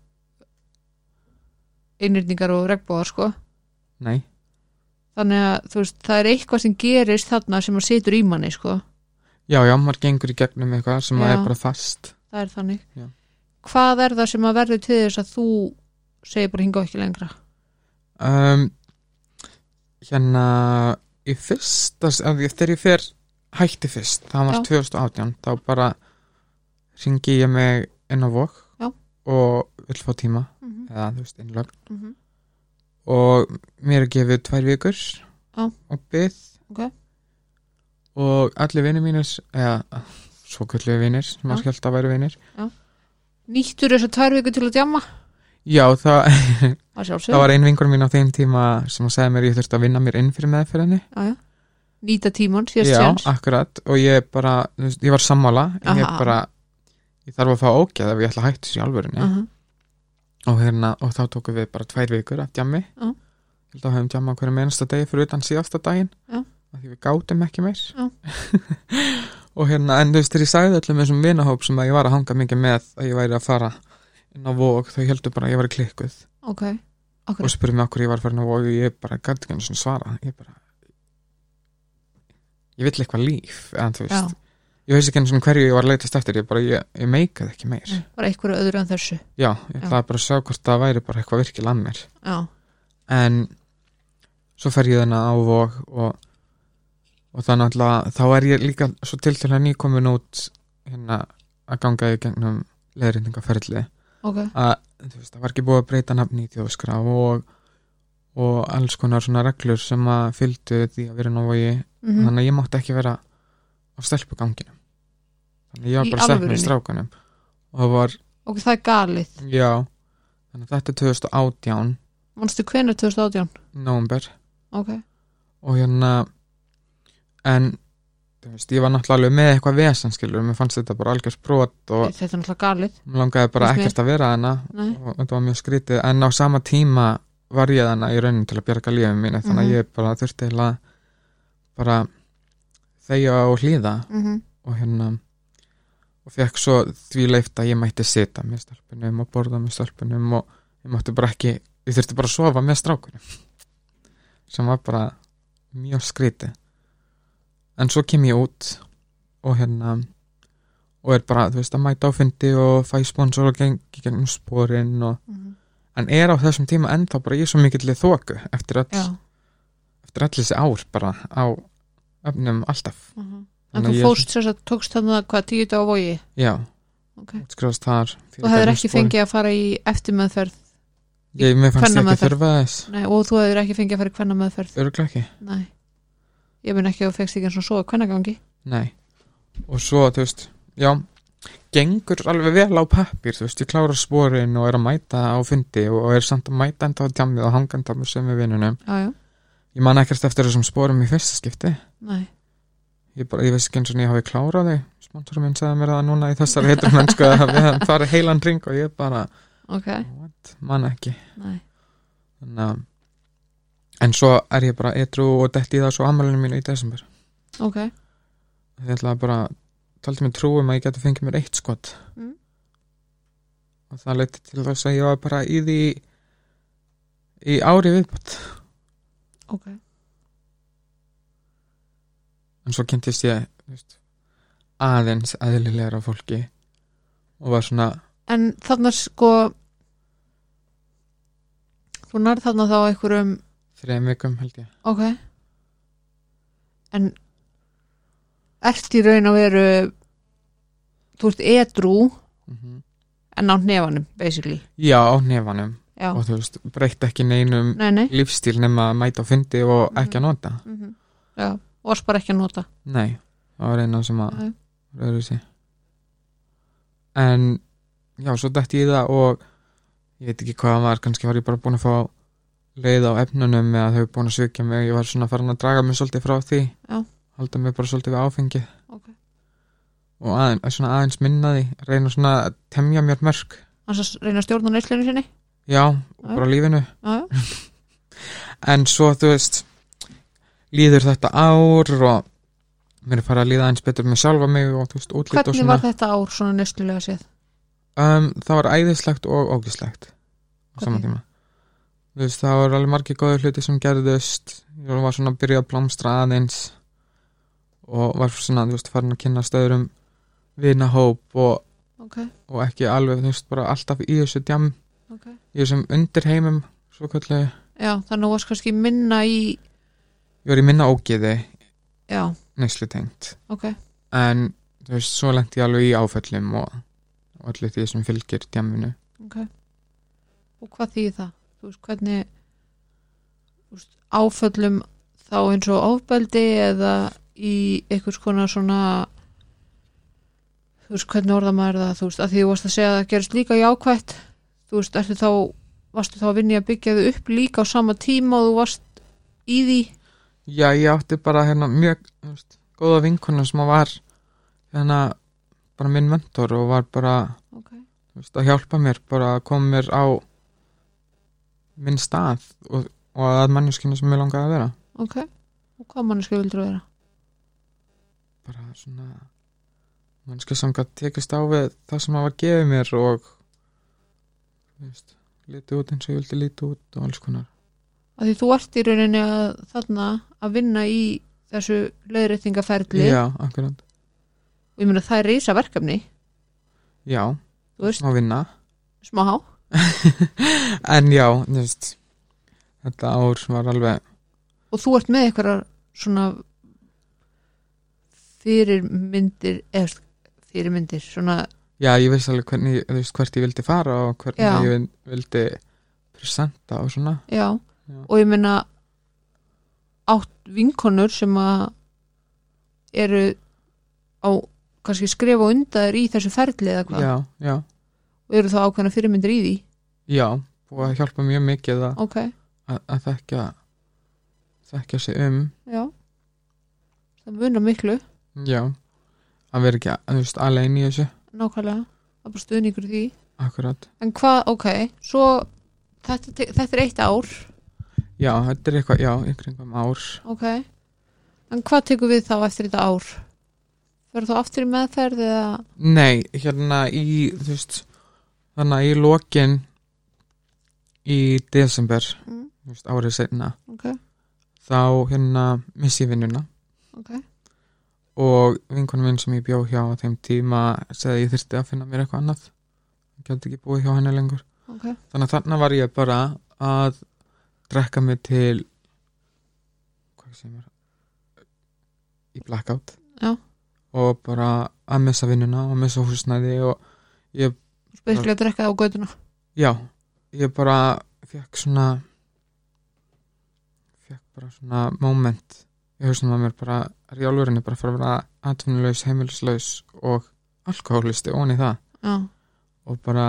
innrýtningar og regnbóðar sko
nei,
þannig að þú veist, það er eitthvað sem gerist þarna sem að situr í manni sko
já, já, maður gengur í gegnum eitthvað sem maður
Já.
er bara fast
það er þannig
Já.
hvað er það sem að verður til þess að þú segir bara hinga ekki lengra
um, hérna í fyrsta, af því að þegar ég fer hætti fyrst, það var
Já.
2018 þá bara ringi ég mig inn á vok
Já.
og vill fá tíma
mm -hmm.
eða þú veist innlögn
Mm -hmm.
og mér er gefið tvær vikur
Já.
og byð
Ok.
og allir vinir mínir eða svo kvöldlega vinir sem maður held að væru vinir
nýttur þess að tvær viku til að djama
já það,
að
það
sjálfsög
var ein vingur mín á þeim tíma sem að segja mér að ég þurfti að vinna mér inn fyrir meðferðinni
nýta tíman, síðast
já
séns
akkurat og ég bara þú veist, ég var sammála en ég
Aha.
bara ég þarf að fá ógæð ef ég ætla að hættu sér alvörunni
Aha.
og, hérna, og þá tókum við bara tvær vikur af djammi
Já.
held að höfum djamma hverjum einasta degi fyrir utan síðasta daginn
Já.
af því við gátum ekki meir
Já.
og hérna en þú veist þegar ég sagði öllum þessum vinahóp sem að ég var að hanga mikið með að ég væri að fara inn á vóg þau heldur bara að ég var klikkuð
ok, Akkurat.
og spurði mig okkur ég var farin á vóg og ég bara gæti ekki einu sinni svara ég bara ég vill eitthvað líf en þú
já,
veist ég veist ekki einu sinni hverju ég var að leitast eftir ég bara ég, ég meikaði ekki meir
bara einhverju öðru en þessu
já ég ætlaði bara að sjá hvort það væri bara eitthvað virkilega að mér
já,
en svo fer ég þarna á vok og, og þannig alltaf þá er ég líka svo til til að nýkomin út hérna að ganga í gegnum leðrindingaferli
ok,
að þú veist, það var ekki búið að breyta nafni í þjóðskrá og, og alls konar svona reglur sem að fylgdu því að vera návogi
mm
þannig að ég mátti ekki vera á stelpuganginum þannig að ég
Í
var bara stelpun
alvörunni?
í strákanum og það var,
ok, það er galið
já þannig að þetta er 2018
manstu hvenær 2018,
nómber
ok
og hérna en þú veist, ég var náttúrulega alveg með eitthvað vesanskilur, mér fannst þetta bara algjör brot og
þetta er náttúrulega galið
mér langaði bara
Fannst mér.
ekkert að vera hana
Nei.
og þetta var mjög skrítið, en á sama tíma var ég hana í raunin til að bjarga lífið mínu þannig að
Mhm.
ég bara þurfti eiginlega bara þegja og hlýða
mm
og hérna og fekk svo því leift að ég mætti sita með stelpunum og borða með stelpunum og ég mátti bara ekki, ég þurfti bara að sofa með strákunum sem var bara mjög skríti en svo kem ég út og hérna og er bara, þú veist, að mæta á fundi og fæ sponsor og gengi gegnum sporin og, en er á þessum tíma ennþá bara ég svo mikill þóku eftir
já,
öll, eftir öll þessi ár bara á öfnum alltaf
uh en
Þannig
þú
að ég-
fóst sér að tókst þannig hvað tíu dag á vogi
já,
Ok.
útskrifast þar
þú hefur ekki fengið að fara í eftirmeðferð
ég, mér fannst ég ekki
Kvennameðferð.
þurfa þess
Nei, og þú hefur ekki fengið að fara hvenna meðferð
örgla ekki,
Nei, ég mun ekki að þú fegst ekki eins og svo hvennagangi
nei og svo, þú veist, já gengur alveg vel á pappir þú veist, ég klára sporin og er að mæta á fundi og, og er samt að mæta enda á tjammið og hangandi á mér sem við vinnunum
Já, já,
ég man ekkert eftir þessum sporum í fyrsta skipti
nei
ég, bara, ég veist ekki eins og ég hafi klárað þau sponsorum minn sagði mér það núna í þessari heitur mennsku að við hefum farið heilan ring og ég bara,
Ok,
what, man ekki
nei,
þannig að en svo er ég bara etru og detti í það svo amalinu mínu í desember
ok
ég ætlaði bara taldi mér trúum um að ég geti fengið mér eitt skot
Mm.
og það leiti til þess að ég var bara í því í ári viðbútt
Ok,
en svo kynntist ég þú veist, aðeins aðlilegra fólki og var svona
en þarna sko Þú nærð þarna þá einhverjum
þreim vikum held ég
Ok En Ert í raun og veru Þú ert edrú
mm
En á hnefanum, basically
já á nefanum
Já,
og þú veist breytt ekki neinum
nei, nei
lífstíl nema að mæta á fundi og ekki að nota
mm Já, varst bara ekki að nota
Nei, það var eina sem að
Já.
röður þessi En já, svo dætti ég í það og ég veit ekki hvað það var kannski var ég bara búin að fá leið á efnunum eða þau búin að svikja mig ég var svona farin að draga mig svolítið frá því
Já.
halda mig bara svolítið við áfengið
Ok
og aðeins, svona aðeins minna því reyna svona að temja mér mörg
Hann svo reyna að stjórna neyslunni sinni
já, og
Já.
bara lífinu
Já, já
en svo þú veist líður þetta ár og mér er farið að líða aðeins betur með sjálfa mig og þú veist, útlít og
Hvernig
svona
var þetta ár svona neyslulega séð?
Um, það var æðislegt og ógislegt á saman
Hvernig?
tíma Þú veist, það var alveg margir góður hluti sem gerðust ég var svona að byrja að blómstra aðeins og var svona, þú veist, farin að kynna stöðurum vinahóp og,
Ok,
og ekki alveg, þú veist, bara alltaf í þessu djam
ok
í þessum undirheimum, svo kallið
Já, þannig að varst kannski minna í
ég var í minna ógiði
Já,
neyslu tengt
ok
en, þú veist, svo lenti ég alveg í áföllum og, og allir því sem fylgir djaminu
Og hvað þýðir það? Þú veist, hvernig þú veist, áföllum þá eins og ofbeldi eða í einhvers konar svona þú veist, hvernig orða maður það, þú veist, að því þú varst að segja að það gerist líka jákvætt, þú veist, ertu þá varstu þá að vinni að byggja þau upp líka á sama tíma og þú varst í því
Já, ég átti bara hérna mjög þú veist, góða vinkona sem að var hérna bara minn mentor og var bara
Ok,
þú veist, að hjálpa mér, bara að koma mér á minn stað og, og að manneskinu sem ég langaði að vera
ok og hvað manneski vildur vera?
bara svona manneski sem gætt tekist á við það sem að var gefið mér og þú veist, liti út eins og ég vildi liti út og alls konar
Að því þú ert í rauninni að þarna að vinna í þessu leiðréttingaferli
Já, akkurat,
og ég meina það er reysa verkefni,
já,
þú veist,
má vinna
smá há
en já, þú veist þetta ár var alveg
og þú ert með einhverjar svona fyrirmyndir eða þú veist, fyrirmyndir svona,
Já, ég veist alveg hvernig, þú veist, hvert ég vildi fara og hvernig
Já.
ég vil- vildi presenta og svona.
já,
Já.
og ég meina átt vinkonur sem að eru á kannski skrifa undar í þessu ferli eða hvað
Já, já,
og eru þá ákveðna fyrirmyndir í því
já, og að hjálpa mjög mikið að,
ok,
að, að þekka, þekka sig um,
já það munar miklu,
já, að vera ekki, þú veist, alveg í þessu,
nákvæmlega það er bara stuðningur í því
akkurat.
en hvað, ok, svo þetta, te- þetta er eitt ár
Já, þetta er eitthvað, já, í kringum ár.
Ok, en hvað tekur við þá eftir þetta ár? Verður þú aftur í meðferð eða
Nei, hérna í, þú veist, þannig að í lokin í desember,
Mm.
þú veist, árið setna,
Ok,
þá hérna missi ég vinnuna.
ok,
og vinkonum minn sem ég bjó hjá á þeim tíma segði að ég þyrfti að finna mér eitthvað annað ég gæti ekki búið hjá henni lengur
ok
þannig að þarna var ég bara að drekka mig til hvað sem er í blackout
Já.
og bara að missa vinnuna og missa húsnæði og ég,
Spesiflega að drekka það á göduna
já ég bara fekk svona fekk bara svona moment ég hausnum að mér bara er í alvörinni bara fyrir að vera atvinnulegs, heimilislaus og alkohólisti ofan í það
já,
og bara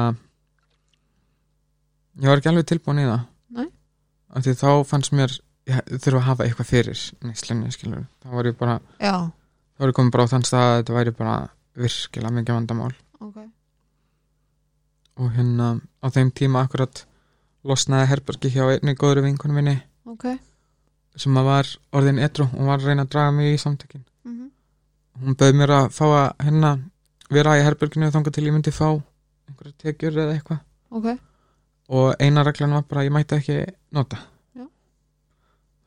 ég var ekki alveg tilbúin í það
Nei.
af því þá fannst mér ég þurfa að hafa eitthvað fyrir neyslunni skilur, þá var ég bara
já,
þá var ég komin bara á þann stað að þetta væri bara virkilega mikið vandamál
ok
og hérna á þeim tíma akkurat losnaði herbergi hjá einni góðri vinkunum minni
ok,
sem að var orðin etru og var að reyna að draga mig í samtökin
mm -hmm.
hún bauð mér að fá að hérna vera í herberginu þangað til ég myndi fá einhverja tekjur eða eitthvað
ok
og eina reglan var bara að ég mætti ekki nota
Já.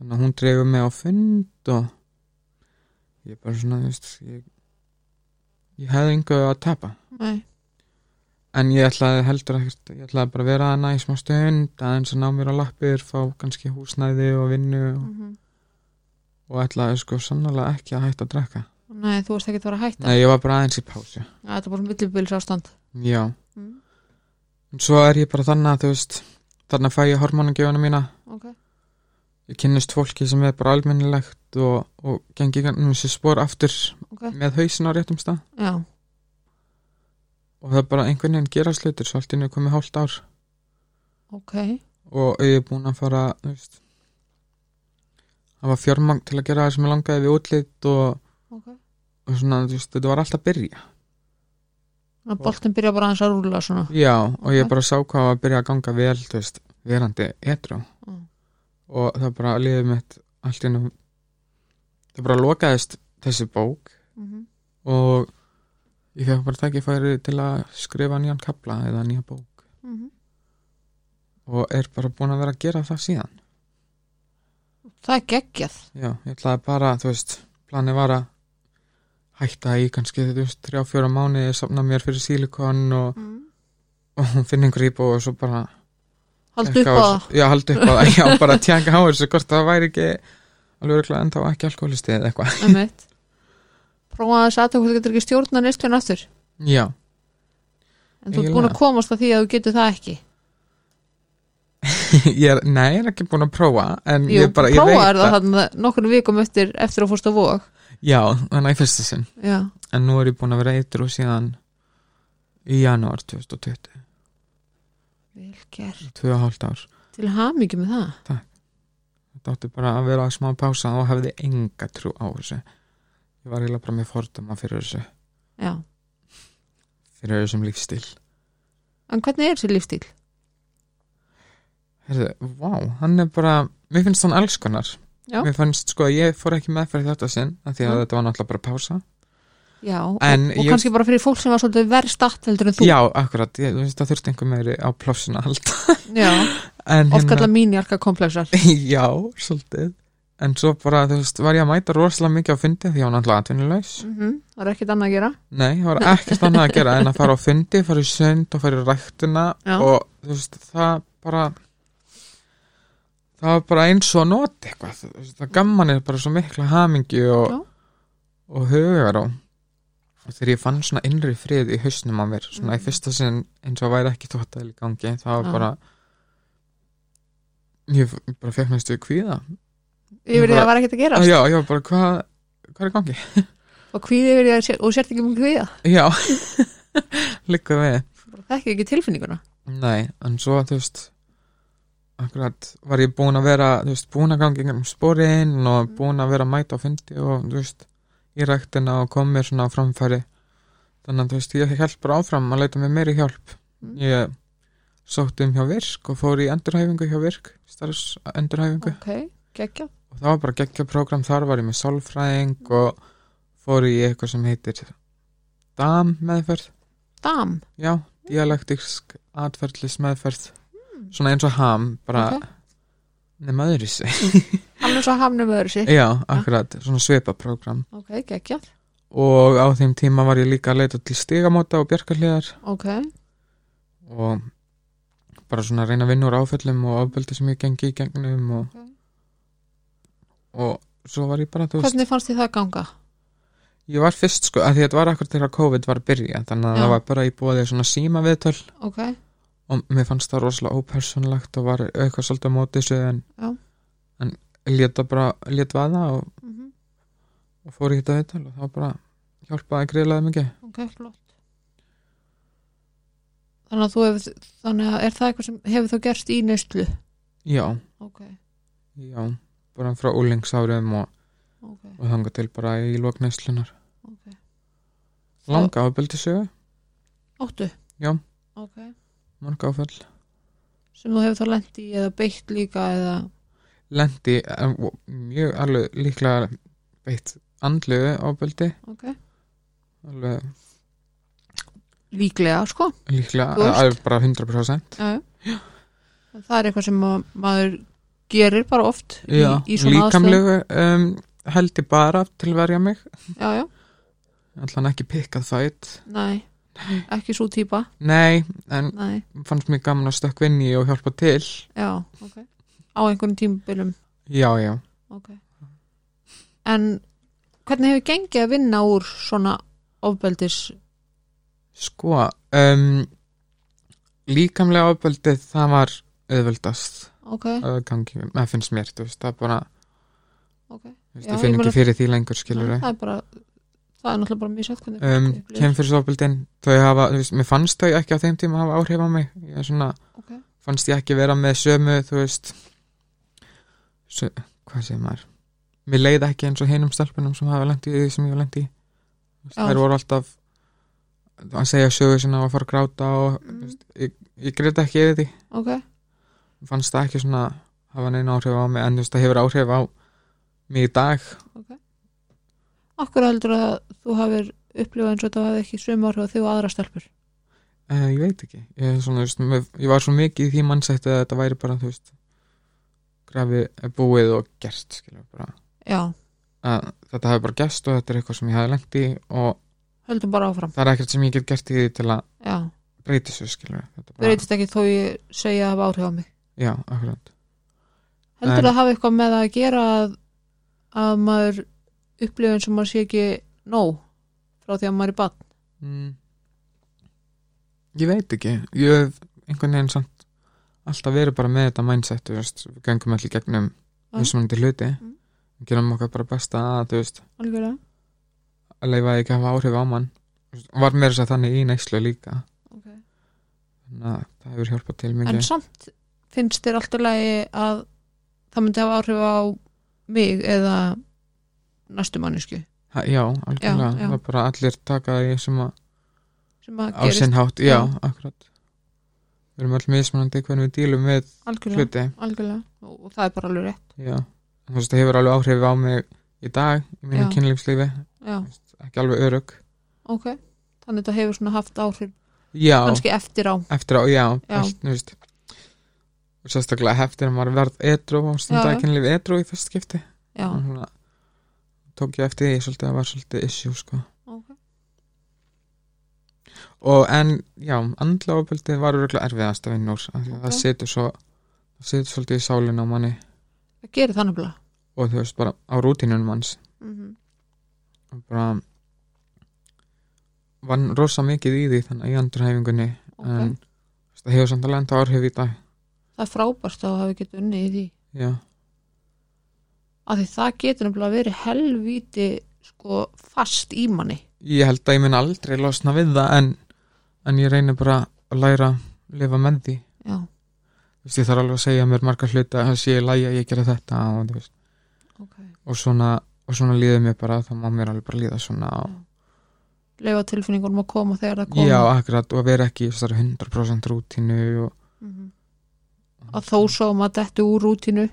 þannig að hún dregur mig á fund og ég bara svona þú veist, ég, ég hefði yngu að tapa
Nei.
en ég ætlaði heldur ekkert ég ætlaði bara að vera hana í smá stund aðeins að ná mér á lappir, fá kannski húsnæði og vinnu og,
Mm
og ætlaði sko sannlega ekki að hætta að drekka
Nei, þú varst ekki að vera að hætta
Nei, ég var bara aðeins í pásu
Já, Þetta er bara millibils ástand
Já,
mm.
en svo er ég bara þannig að þú veist þannig að fæ ég hormonangjöfuna mína
Ok,
ég kynnist fólki sem er bara almennilegt og, og gengi gannum þessi spór aftur
Ok.
með hausin á réttum stað
já,
og það er bara einhvern veginn gera slutur svo allt inni komið hálft ár
ok
og ég er búin að fara þú veist hafa fjármang til að gera það sem ég langaði við útlit og,
Ok
og svona, þú veist, þetta var alltaf að byrja
Þannig að boltin byrja bara aðeins að rúla svona
já, og ég
Ok.
bara sá hvað var að byrja að ganga vel þú veist, verandi etru
Mm.
og það bara liðið mitt allt inni það bara lokaðist þessi bók
mm -hmm.
og ég fekk bara tækifæri til að skrifa nýjan kapla eða nýja bók
Mhm.
og er bara búin að vera að gera það síðan
Það er geggjað
já, ég ætlaði bara, þú veist planið var að hætta í kannski, þú veist, þrjá, fjóra mánuði safna mér fyrir sílikon og,
mm.
og finna einhver íbú og svo bara
Haldu upp
tekka
á
á þessu- já, haldi upp á það, já, bara tjaka á þessu hvort það væri ekki alveg örugglega ennþá ekki alkoholisti eða eitthvað
það um eitt Prófa aðeins að þú getur ekki stjórna neysljun aftur
já,
En þú ert
Eiginlega.
búin að komast að því að þú getur það ekki
ég er, nei, ég er ekki búin að prófa en
Jú,
Mm, ég bara, ég veit
prófaðir það þannig að nokkur vikum eftir eftir að fórst á vóg
já, þannig að í fyrsta sinn
Já,
en nú er ég búin að vera eitru síðan í janúar 2020
vel gert
tvö og hálft ár
Til hamingi með það
þetta átti bara að vera að smá pása og hefði enga trú á þessu ég var eiginlega bara með fordama fyrir þessu
Já,
fyrir þessum lífstíl
en hvernig er þessi lífstíl?
Herðu, vá, hann er bara mér finnst hann alls konar
Já.
mér finnst sko að ég fór ekki með fyrir þetta sinn af því að
Mm.
þetta var náttúrulega bara pása
Já, og,
En
og
ég-
kannski bara fyrir fólk sem var svolítið verð statt heldur en þú
já, akkurat, ég þú veist það þurfti einhver meiri á plássuna allt
Já,
en hérna-
oft kalla mínjarka komplexar
já, svolítið en svo bara, þú veist, var ég að mæta rosalega mikið á fyndi því að hann alltaf atvinnulegs
mm Það er ekkit annað að gera
Nei, það var ekkert annað að gera en að fara á fundi, fara í sund og fara í ræktuna
Já.
og þú veist, það bara það var bara eins og að nota eitthvað, þú veist, það gaman er bara svo mikla hamingju og,
Já.
og hugar og, og þegar ég fann svona innri frið í hausnum á mér, svona
Mhm.
í fyrsta sinn eins og væri ekki þvóttaðil í gangi, það var
Já.
bara ég f- bara fekk næstu í kvíða
Yfir því
Bara-
að var ekkit að gera
Já, já, bara hvað hvað er í gangi?
Og kvíði yfir því að sér, og sért ekki mjög kvíða
Já, líka við
Þekkir ekki tilfinninguna
Nei, en svo þú veist akkurat var ég búin að vera þú veist, búin að ganga um spórin og búin að vera að mæta á fyndi og þú veist, í ræktina og kom mér svona á framfæri þannig að þú veist, ég held bara áfram að leita mér meiri hjálp
Mm.
ég sótti um hjá virk og fór í endurhæfingu hjá virk starfs endurhæfingu
Ok, geggja
og það var bara geggja program, þar var ég með sálfræðing og fór í eitthvað sem heitir DAM meðferð
Dam,
Já, dialektisk atferðlis meðferð Svona eins og ham bara
Hmm. Ok.
nema öðru sig
hann er svo hamnum öðru sér
Já, akkurat, svona svipaprógram
Ok, geggja
og á þeim tíma var ég líka að leita til stigamóta og bjarkarliðar
Ok,
og bara svona að reyna að vinna úr áföllum og ofbeldi sem ég gengi í gegnum og,
Ok.
og svo var ég bara, þú veist
hvernig fannst þið það ganga?
ég var fyrst sko, að því að þetta var akkur þegar COVID var að byrja þannig að
Já.
það var bara í bóðið svona síma viðtöl
Ok,
og mér fannst það rosalega ópersonlegt og var eitthvað svolítið á móti þessu en,
Já.
en létt bara létt vaða og,
mm -hmm.
og fór í þetta viðtal og það bara hjálpaði greiðlega mikið
ok, flott þannig að þú hefur þannig að er það eitthvað sem hefur þú gerst í neyslu
já,
ok,
já, bara frá úlingsárum og,
ok,
og þanga til bara í loknæslunar
ok
langa ábeldi sögu,
áttu?
Já.
ok,
mörg áfell
sem þú hefur þá lent í eða beitt líka eða
lendi en, og mjög alveg líklega beitt andlegu ábeldi
ok,
alveg
líklega sko
líklega,
Þú veist.
alveg bara 100%
já, já. En það er eitthvað sem að maður gerir bara oft í,
Já,
í svona
líkamlegu um, held ég bara til að verja mig
aðstöðum já, já,
allan ekki pikkað fætt
nei, ekki svo típa
nei, en
nei,
fannst mér gaman að stökk vinni og hjálpa til
já, ok á einhvern tímbilum
já, já,
ok en hvernig hefur gengið að vinna úr svona ofbeldis
sko um, líkamlega ábeldið það var auðvöldast
ok,
að gangi, það finnst mér þú veist, það bara,
ok
þú veist,
Já,
ég
ég
finn
meina-
ekki fyrir því lengur skilur
það er bara það er náttúrulega bara mjög sætt hvernig
um,
fólk upplifir.
kemfyrirsofbildin þau hafa, þú veist, mér fannst þau ekki á þeim tíma hafa áhrif á mig, ég er svona
Ok.
fannst ég ekki vera með sömu, þú veist sö, hvað segir maður mér leiði ekki eins og hinum stelpunum sem hafa lendi í því sem ég var lendi í Þú veist,
Já.
þær voru alltaf að segja sögu sinna og að fara að gráta og
Mm.
þú veist, ég, ég greit ekki yfir því
ok,
fannst það ekki svona hafa neina áhrif á mig en þú veist, það hefur áhrif á mig í dag
okkur heldur að þú hafir upplifað eins og þetta hafði ekki sömu áhrif á þig og aðra stelpur
Uh, ég veit ekki ég, er svona, þú veist, mér, ég var svo mikið í því mannsætti að þetta væri bara þú veist grafi búið og gerst skilur, bara.
já,
að þetta hefur bara gerst og þetta er eitthvað sem ég hafi lengt í og
höldum bara áfram
það er ekkert sem ég get gert í því til að
já,
breyta þessu skilur þetta bara,
breytist ekki þó ég segja að hafa áhrif á mig
já, akkurat
heldur
En-
að hafa eitthvað með að gera að, að maður upplifað eins og maður sé ekki nóg frá því að maður er bann
mm. ég veit ekki ég hef einhvern veginn samt alltaf verið bara með þetta mannsætti við gengum allir gegnum
Já.
mismunandi hluti
Mm.
gerum okkar bara besta að þú veist
algjörlega
að leifa ekki að hafa áhrif á mann og var meira þess að þannig í neyslu líka
Ok.
þannig að það hefur hjálpað til
en
mikið
samt finnst þér alltaf lagi að það myndi hafa áhrif á mig eða næstu mannesku
ha, já, algjörlega,
Já, já.
það er bara allir taka því sem að
sem að
á
gerist
sinn hátt, já,
Já.
akkurat við erum öll mismunandi hvernig við dílum við
algjörlega,
hluti,
algjörlega og, og það er bara alveg rétt
já En þú veist, það hefur alveg áhrif á mig í dag í mínu
Já.
kynlífslífi,
já,
ekki alveg örug
ok, þannig þetta hefur svona haft áhrif
já,
kannski eftir á
eftir á, já,
Já.
Allt, þú veist og sérstaklega heftir að maður verð edru og
Já,
stundaði
já.
kynlífi edru í fyrst skipti
já,
og svona tók ég eftir því svolítið að var svolítið issue sko
ok,
og en já, andla ofbeldið var örgulega erfiðast að vinna úr af því að
Ok.
það situr svo það situr svolítið í sálinu á manni
það gerir þannig bila
og þú veist bara á rútinunum hans
mm -hmm.
og bara vann rosa mikið í því þannig í andurhæfingunni
ok,
en þú veist, það hefur samt alveg enda áhrif í dag
það er frábært að hafa getið unni í því
já,
af því það getur nefnilega verið helvíti sko fast í manni
ég held að ég mun aldrei losna við það en, en ég reynir bara að læra að lifa með því
já,
þú veist, ég þarf alveg að segja mér margar hluta að sé ég lægi að ég gera þetta og þú veist
ok,
og svona, og svona líður mér bara þá má mér alveg bara líða svona og,
leifa tilfinningunum að koma þegar það koma
já, akkurat, og vera ekki í þessari 100% rútínu og,
Mhm. að þó svo að maður dettu úr rútinu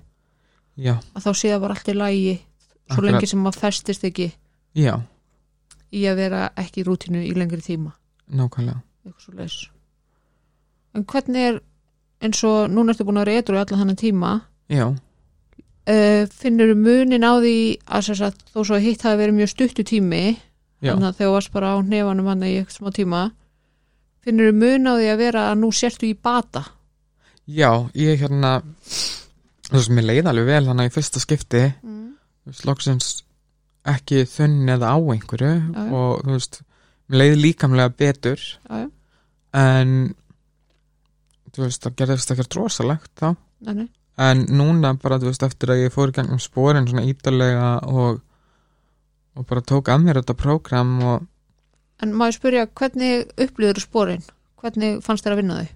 já,
að þá sé það bara allt í lægi svo
Akkurat.
lengi sem maður festist ekki
já,
í að vera ekki í rútinu í lengri tíma
nákvæmlega
eitthvað svo en hvernig er eins og núna ertu búin að vera edru allan þannig tíma
já,
uh, finnur munin á því að sem sagt, þó svo að hitt hafi verið mjög stuttu tími
Já.
þannig að þegar þú varst bara á hnefanum hann í eitthvað smá tíma finnur mun á því að vera að nú sértu í bata
já, ég hérna þú veist, mér leið alveg vel þannig að í fyrsta skipti
mm.
þú veist, loksins ekki þunni eða á einhverju
já.
og þú veist, mér leið líkamlega betur
Já, já.
en þú veist, það gerðist ekkert rosalegt þá
Nei, nei.
en núna bara, þú veist, eftir að ég fór í gangum spórin svona ítalega og og bara tók að mér þetta prógram og
En maður spyrja, hvernig upplýður spórin? Hvernig fannst þér að vinna þau?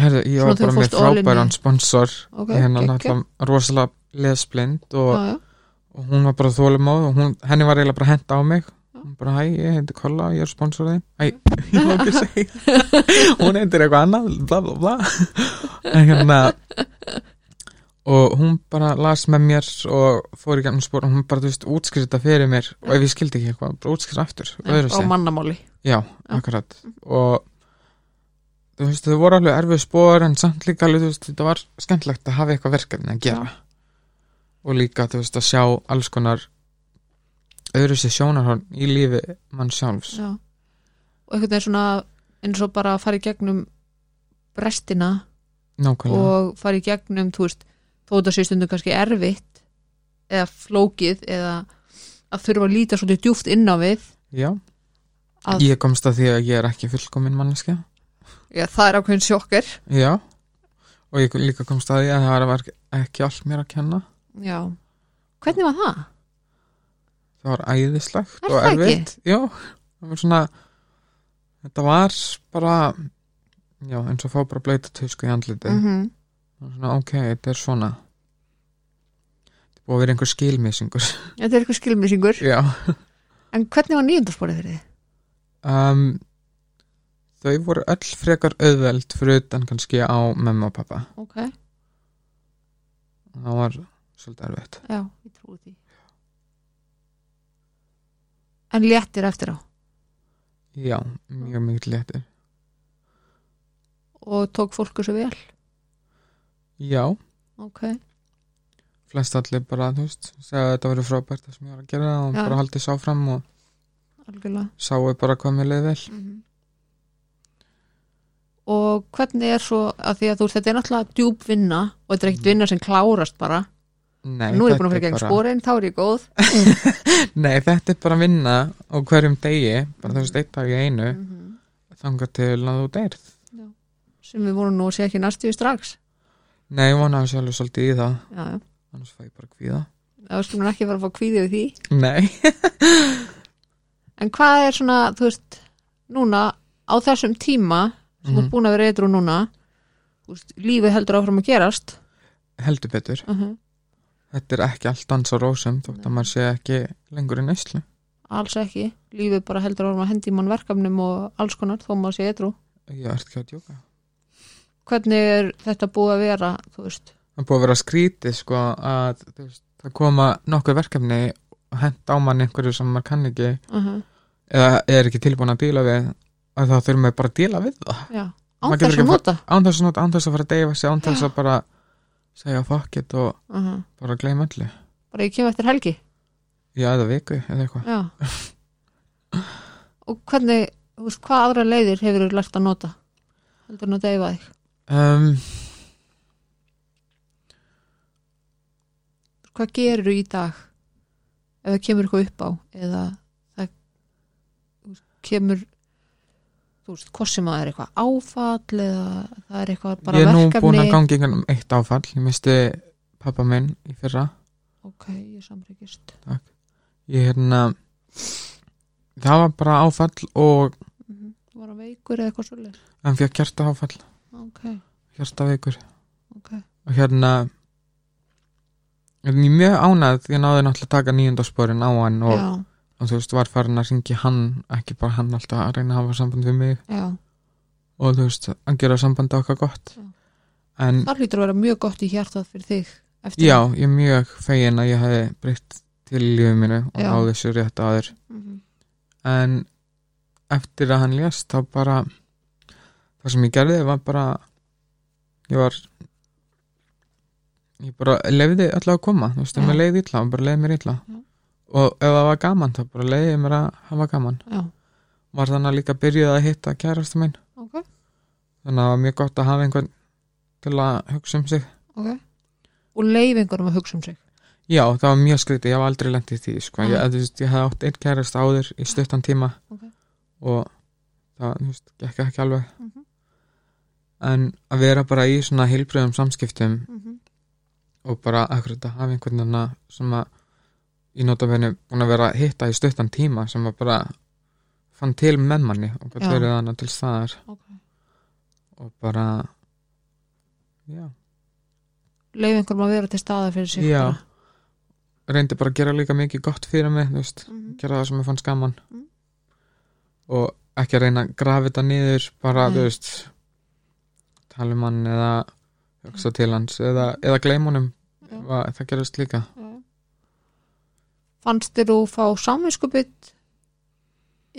herðu, ég
Svona
var
þegar
bara með
fórstu all in í-
frábæran sponsor
Ok, Ah.
okay, hérna
geggjað.
náttúrulega rosalega lesblind og,
Já, já.
og hún var bara þólumóð og hún, henni var eiginlega bara hent á mig
Ah.
hún bara, hæ, ég heiti Kolla og ég er sponsorðin hæ, ég má ekki segja hún heitir eitthvað annað, bla bla bla en hérna og hún bara las með mér og fór í gennum spór og hún bara, þú veist, útskrita fyrir mér og ef ég skildi ekki eitthvað, bara útskrita aftur öðru
Á
sig.
mannamáli.
Já, akkurat og þú veist, þau voru alveg erfið spór en samt líka alveg, þú veist, þetta var skemmtilegt að hafa eitthvað verkefni að gera og líka, þú veist, að sjá alls konar öðru sér sjónarhorn í lífi mann sjálfs
Já. Og einhvern veginn svona eins og bara að fara í gegnum brestina
nákvæmlega,
og fara í gegnum, þú veist, þó þetta sé stundum kannski erfitt eða flókið eða að þurfa að líta svolítið djúft inn á við
já
að-
ég komst að því að ég er ekki fullkomin manneskja
Já, það er ákveðin sjokkar.
já, og ég líka komst að því að það var ekki allt mér að kenna
Já. Hvernig var það?
það var æðislegt
Er
og
það ekki?
erfitt já, það var svona þetta var bara já, eins og fá bara bleita tusku í andliti mm.
-hmm.
svona, ok, þetta er svona þetta er búið að vera einhver skilmissingur
Þetta er eitthvað skilmýsingur.
já
En hvernig var nýjöndarsporið fyrir þið?
um, þau voru öll frekar auðveld fyrir utan kannski á memma og pappa
Ok,
það var svolítið erfitt
já, ég trúi því. En léttir eftir á
já, mjög mikið léttir
og tók fólku svo vel.
já,
Ok,
flest allir bara, þú veist segja að þetta verið frábært það sem ég var að gera og
Já.
bara haldið sá fram og
algjörlega.
sáu bara hvað mér leiði vel
Og hvernig er svo, að því að þú veist, þetta er náttúrulega djúb vinna og þetta er ekkert vinna sem klárast bara.
Mhm. Nei,
Nú er ég
þetta
búin að fyrir gegn
bara-
sporin, þá er ég góð.
Nei, þetta er bara að vinna á hverjum degi, bara
Mhm.
þú veist, eitt dag í einu þangað til að þú deyrð
Sem við vorum nú að sé ekki næstu í strax.
Nei, ég vonaði sjálfur svolítið í það
Já, já.
annars fæ ég bara kvíða
Það skulum ekki fara að fá kvíðið því.
Nei,
En hvað er svona, þú veist, núna á þessum tíma sem þú
Mhm.
er búin að vera eitthvað núna þú veist, lífið heldur áfram að gerast
heldur betur
uh -huh.
Þetta er ekki allt dans á rósum þótt að maður sé ekki lengur í neyslu
alls ekki, lífið bara heldur áfram að hendi mann verkefnum og alls konar þó maður sé eitthvað.
Ég ert ekki að djóka
Hvernig er þetta búið að vera, þú veist?
Það er búið að vera skrítið, sko að þú veist, það koma nokkuð verkefni og hent á mann einhverju sem maður kann ekki
Uh -huh.
eða er ekki tilbúin að díla við að þá þurfum við bara að díla við
Já,
það Maður
án
getur
þess að
ekki að
nota.
án þess að, nota, án þess að fara að deyfa sig, án þess að bara segja fuck it og
Uh -huh.
bara gleyma öllu
Bara ég kem eftir helgi.
já, eða viku, eða eitthvað
Já. og hvernig, þú veist, hvað aðra leiðir hefur þú lært að nota? Heldur nú að deyfa þig?
um,
hvað gerir þú í dag ef það kemur eitthvað upp á eða það þú veist, kemur þú veist, hvort sem það er eitthvað áfall eða það er eitthvað bara
ég er nú búin
verkefni
að gangi einhvern um eitt áfall ég misti pappa minn í fyrra
ok, ég samrýkist
ég hérna það var bara áfall og
þú Mhm. var að veikur eða eitthvað svolítið
hann fekk hjarta áfall,
ok,
hjarta veikur
ok,
og hérna en ég er mjög ánægð ég náði náttúrulega að taka nýjundarsporin á hann og,
já,
og þú veist, var farin að ringi hann ekki bara hann alltaf að reyna að hafa samband við mig
já
og þú veist, að gera sambandi okkar gott
Já.
en
það hlýtur að vera mjög gott í hjartað fyrir þig eftir
já, ég er mjög fegin að ég hefði breytt til í lífið mínu og
Já.
á þessu rétt aður
Mhm.
en eftir að hann lést þá bara það sem ég gerði var bara ég var ég bara lefði alltaf að koma þú veist, ef
Já.
mér leiði illa, þá bara leiði mér illa
Já.
og ef það var gaman þá bara leiði ég mér að hafa gaman
já,
var þannig að líka byrjuð að hitta kærastu minn
ok,
þannig að það var mjög gott að hafa einhvern til að hugsa um sig
ok og leif einhverjum að hugsa um sig
Já, það var mjög skrítið, ég hef aldrei lent í því sko. ég,
Ah.
að, þú veist, ég hef átt einn kærasta áður í stuttan tíma
Ok.
og það þú veist, gekk ekki alveg
Mhm.
en að vera bara í svona heilbröðum samskiptum
mm -hmm.
og bara akkurat að hafa einhvern veginn að- sem að í notabenni búin að vera að hitta í stuttan tíma sem að bara fann til með manni og hvað
Já.
verið þannig til staðar
Ok.
og bara já,
leif einhverjum að vera til staða fyrir sig
já reyndi bara að gera líka mikið gott fyrir mig þú veist,
mm -hmm.
gera það sem ég fann skaman
Mm.
og ekki að reyna að grafa þetta niður bara,
Nei.
þú veist tala um hann eða hugsa til hans eða, eða gleym honum
Já.
Va, það gerast líka
fannst þér þú fá saminskupið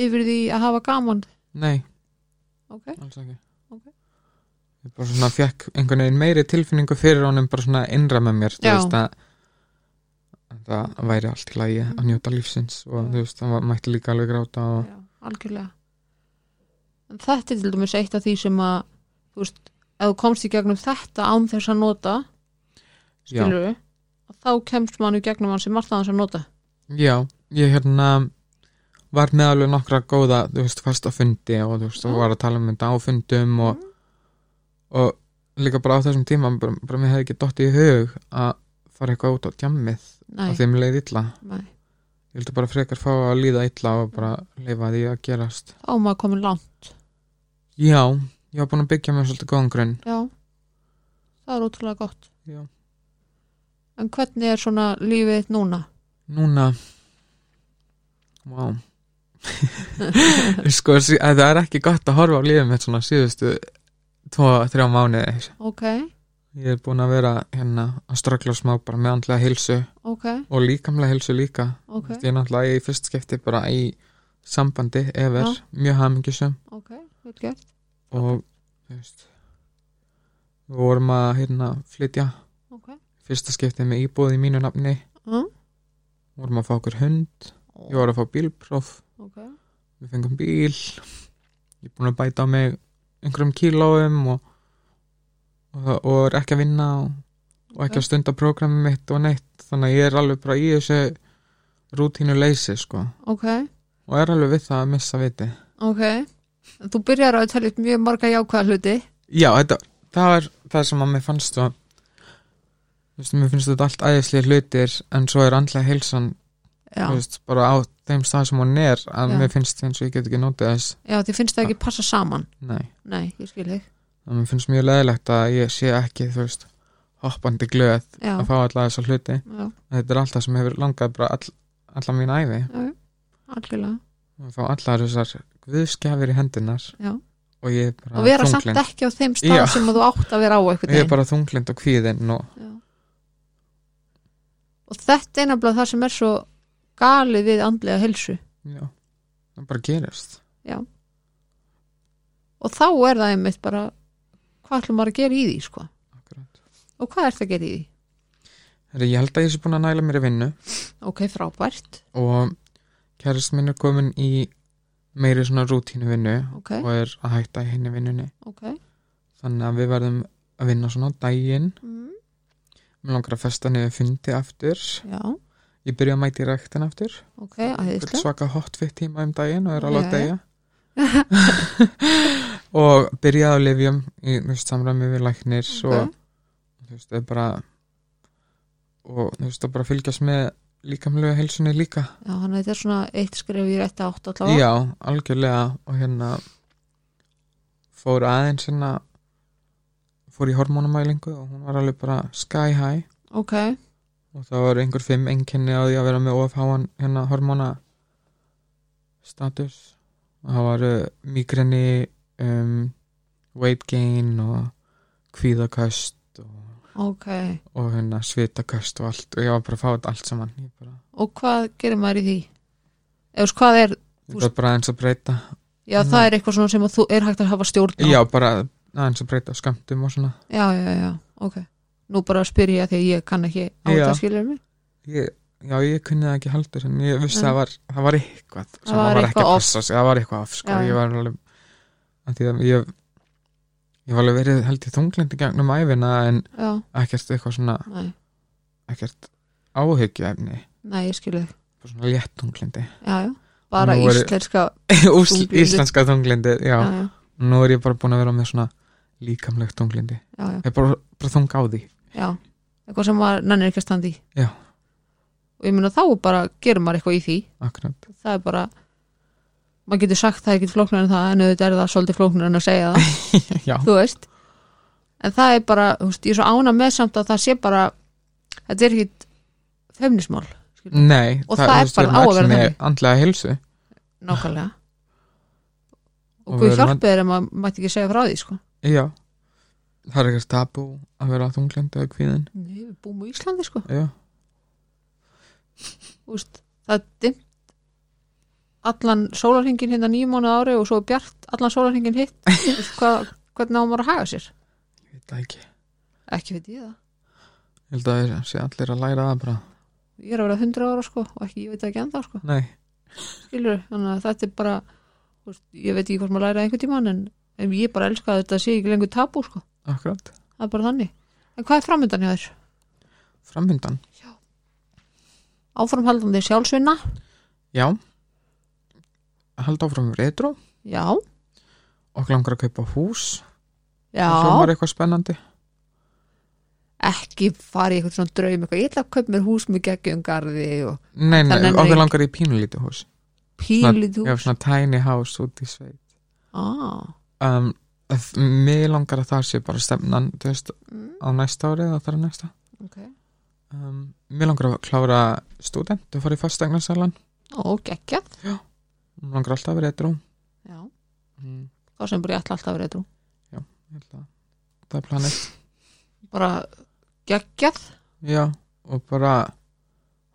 yfir því að hafa gaman
nei,
ok,
alls ekki
Ok.
ég bara svona fekk einhvern veginn meiri tilfinningu fyrir honum bara svona innra með mér þú
Já.
veist að að það væri allt í lagi að njóta lífsins og
Mm. Já.
þú veist, það var- mætti líka alveg gráta og,
já, algjörlega en þetta er til dæmis eitt af því sem að þú veist, ef þú komst í gegnum þetta án þess að nota
Já.
skilur við þá kemst mann í gegnum hann sem margt aðeins að nota
Já, ég hérna var með alveg nokkra góða, þú veist, fasta fundi og þú veist, þú
Mm.
var að tala um þetta á fundum og, og líka bara á þessum tíma, bara, bara mér hefði ekki dottið í hug að fara eitthvað út á djammið
nei,
og þeim leið illa.
nei,
Ég vildi bara frekar fá að líða illa og bara leifa því að gerast.
þá er maður komin langt
Já, ég var búin að byggja mér svolítið góðan grunn.
já, það er ótrúlega gott
Já.
en hvernig er svona lífið þitt núna
Núna, wow. sko, sí- það er ekki gott að horfa á lífið mitt svona síðustu tvo, þrjá mánuði,
ok,
Ég er búin að vera hérna að ströggla smá bara með andlega heilsu
ok,
og líkamlega heilsu líka.
ok
Ég er náttúrulega í fyrst skipti bara í sambandi efer,
Já.
mjög hamingisum
ok, vel gert
og þú veist, við vorum að hérna flytja
ok,
fyrsta skipti með íbúð í mínu nafni,
mm.
vorum að fá okkur hund, ég var að fá bílpróf,
ok,
við fengum bíl, ég er búin að bæta á mig einhverjum kílóum og, og, og er ekki að vinna og, og ekki að stunda prógramið mitt og neitt þannig að ég er alveg bara í þessu rútínu leysi sko
ok,
og er alveg við það að missa viti
ok En þú byrjar að tala upp mjög marga jákvæða hluti
já, þetta, það er það sem að mér fannst og þú veist, mér finnst þetta allt æðislega hlutir en svo er andlega heilsan
já,
þú veist, bara á þeim stað sem hún er að
Já.
mér finnst eins og ég get ekki notið þess
já því finnst það ekki passa saman
nei,
nei, ég skil þig
það mér finnst mjög leðilegt að ég sé ekki, þú veist hoppandi glöð
já,
að fá alla þessa hluti
já,
þetta er alltaf sem hefur langað bara all, alla mín æfi
algjörlega
og fá allar þessar guðskjafir í hendunar
Já.
og ég er bara
og vera samt
þunglynd
ekki á þeim stað
Já.
sem að þú átt að vera á einhvern
ég er
veginn
bara þunglind og kvíðinn og
Já. og þetta er nefnilega það sem er svo galið við andlega helsu
já, það bara gerist
og þá er það einmitt bara hvað ætlum maður að gera í því sko
akkurat
og hvað ert að gera í því?
Heri, ég held að ég sé búin að næla mér í vinnu
ok, frábært,
og kærist minn er komin í meiri svona rútínu vinnu
ok,
og er að hætta í henni vinnunni
ok
þannig að við verðum að vinna svona á daginn
mm.
mér langar að festa niður fundi aftur
já,
ég byrja að mæti ræktin aftur
ok,
Einhvern
aðeinslega
svaka hotfit tíma um daginn og er alveg að
Já, já.
degja og byrjaði á lifjum í þú veist, samræmi við læknir
Ok.
og þú veist, það er bara og þú veist, það bara fylgjast með líkamlega heilsunni líka
já, þannig að þetta er svona eitt skref í rétt átt allavega
já, algjörlega og hérna fór aðeins hérna fór í hormónamælingu og hún var alveg bara sky high
ok,
og það var einhver fimm enginni á því að vera með ofháan hérna hormona status það var uh, migrini um, weight gain og kvíðaköst og,
ok
og hérna svitaköst og allt og ég var bara að fá þetta allt saman ég bara,
og hvað gerir maður í því? eða þú veist, hvað er,
ég var bara aðeins að breyta
já það er eitthvað svona sem að þú er hægt að hafa stjórn á
Mhm. já, bara aðeins að breyta skamtum og svona
já, já, já, ok nú bara spyr ég að því að ég kann ekki á
Já.
þetta skilur mig
ég, já, ég kunni það ekki heldur en ég
Nei.
vissi að það var, það var eitthvað sem
Mm. var
það var ekki
eitthvað
að
off.
passa sig, það var eitthvað off sko,
Já, já.
ég var alveg að því að ég ég var alveg verið held í þunglindi gegnum æfina en
já,
ekkert eitthvað svona
nei,
ekkert áhyggjuefni
nei, ég skilur þig
bara svona létt þunglindi
já, já, bara
Nú er-
íslenska
Úsl-
Þunglyndi.
íslenska þunglindi, já,
já, já,
nú er ég bara búin að vera með svona líkamlegt tunglindi
já, já,
það er bara, bara þung á því
já eitthvað sem maður nennir ekki að standa í
Já.
og ég meina þá bara gerir maður eitthvað í því
akkurat,
það er bara maður getur sagt það er ekkert flóknar en það en auðvitað er það svolítið flóknar en að segja það
já,
þú veist en það er bara, þú veist, ég er svo ána með samt að það sé bara þetta er ekkit femnismál
nei
Og það er
þú veist, við
bara á
erum
að
öll
vera
með
þannig.
andlega hilsu
nákvæmlega og,
Og
og guð
við erum
hjálpið er að maður mætti ekki segja frá því sko.
já, það er ekkert tabú að vera þunglindi og kvíðin
Nei, við búum á Íslandi sko
já,
Þú veist, það er dimmt allan sólarhingin hérna nýjum mánuð ári og svo er bjart allan sólarhingin hitt Þú veist, hvað, hvernig á maður að haga sér
ég veit það ekki
ekki veit ég það
ég held að það sé allir að læra það bara
ég er að vera 100 ára sko og ekki, ég veit það ekki ennþá sko
nei,
skilur, þannig að þetta er bara þú veist, ég veit ekki hvort maður læra einhvern tímann en, en ég bara elska að þetta sé ekki lengur tabú sko,
akkurat,
það er bara þannig en hvað er framöndan hjá þér?
framvindan
Áframhaldandi sjálfsvinna?
já hald áfram retro
Já,
og langar að kaupa hús það
já
hljómar eitthvað spennandi
ekki fara í eitthvað svona draum eitthvað, ég ætla að kaupa mér hús með geggjum garði og
nei, nei,
Þannig að
okkur
ég-
langar í pínulítið hús
pílið
já,
hús
svona tiny house út í sveit
ah,
um, að- mig langar að það sé bara stefnan þú veist,
Mm.
á næsta ári eða þar að næsta
ok,
um, mér langar að klára student og fara í fastegnasalan
og geggjað
mér langar alltaf að vera eitrú
já,
mm,
það sem bara ég ætla alltaf að vera eitthvað
ég held að það er planið
bara geggjað
já, og bara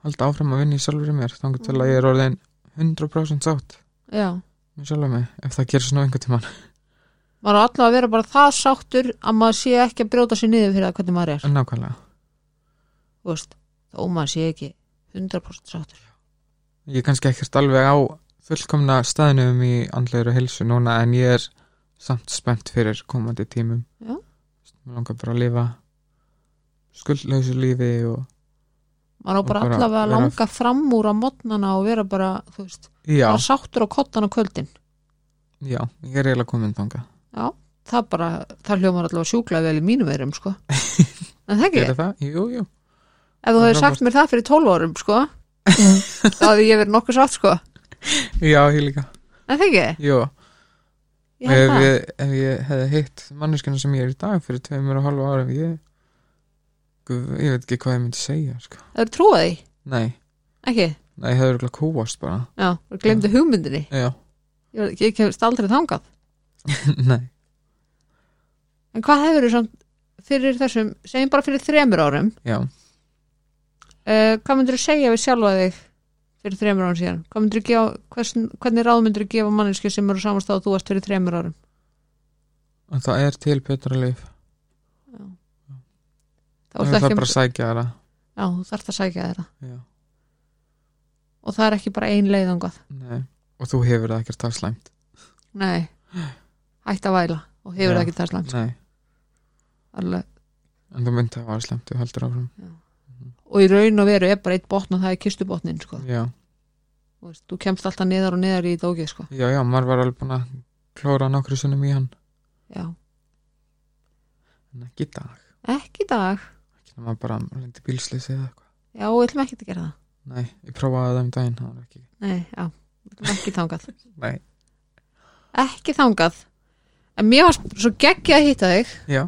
halda áfram að vinna í sjálfur mér þangar til að ég er orðin 100% sátt
já,
með sjálfur mig, ef það gerir svona einhvern tímann
maður á alltaf að vera bara það sáttur að maður sé ekki að brjóta sér niður fyrir það hvernig maður er
en nákvæmlega,
þú veist, þó maður sé ekki 100% sáttur
ég er kannski ekkert alveg á fullkomna staðnum í andlegur og heilsu núna en ég er samt spennt fyrir komandi tímum
Já.
mér langar bara að lifa skuldlausu lífi og
maður á
Og
bara
bara
allavega að
vera-
langa fram úr á modnana og vera bara, þú veist,
já,
bara sáttur á kottan á kvöldin
já, ég er eiginlega komin þangað
já, það bara, það hljómar allavega sjúklega vel í mínum verum, sko en það ekki,
er það? Jú, jú,
ef þú
það
hefur
er
sagt mér það fyrir 12 árum, sko þá hefði ég verið nokkuð sátt, sko
já, ég líka
en það ekki,
jú,
ég held
ef,
það
ég, ef ég hefði hitt manneskina sem ég er í dag fyrir tveimur og halva árum ég, guð, ég veit ekki hvað ég myndi segja sko.
það er trúið því,
nei,
ekki,
nei, ég hefði örgulega kúast bara
já, og glemdi hugmyndinni
já,
ég, ég kemst aldrei þangað
nei,
en hvað hefur þú samt fyrir þessum, segjum bara fyrir þremur árum
já
uh, hvað myndir þú segja við sjálfa þig fyrir þremur árum síðan Hvað myndirðu gefa, hvers, hvernig ráð myndir þú gefa manneski sem eru samastað og þú varst fyrir þremur árum
En það er til betra líf
það,
Það
það,
er
ekki, um-
bara að sækja þeirra
já, þú þarft að sækja þeirra
Já,
og það er ekki bara ein leið angað
nei. Og þú hefur það ekkert það slæmt
nei, hætt að væla og hefur
Já.
það ekki það slæmt
Nei,
Alveg.
en þú myndi að það var slæmt Þú heldur áfram
og í raun og veru er bara eitt botn og það er kistubotnin sko.
Já,
Þú veist, þú kemst alltaf neðar og neðar í dógið sko.
já, já maður var alveg búin að klóra nokkru sunnum í hann
Já.
En ekki í dag
ekki í dag
Ekki nema bara lendi bílslýsi eða eitthvað
já, við ætlum ekki að gera það
Nei, ég prófaði það um daginn Það var ekki
nei, já, við ætlum ekki þangað
Nei,
ekki þangað en mér var svo geggja að hitta þig
já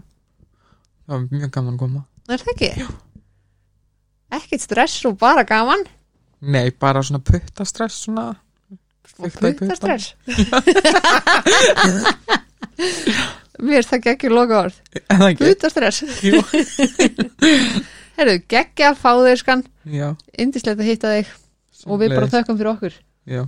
Það var mjög gaman að koma
er það ekki? Já. ekkit stress og bara gaman
Nei, bara svona puttastress svona
og
Fikta í
putta stress mér er það geggju loka orð
En ekki
putta stress
Jú.
herru, geggja að fá þig skan
Já,
indislegt að hitta þig og við bara
sömuleiðis.
þökkum fyrir okkur
Já,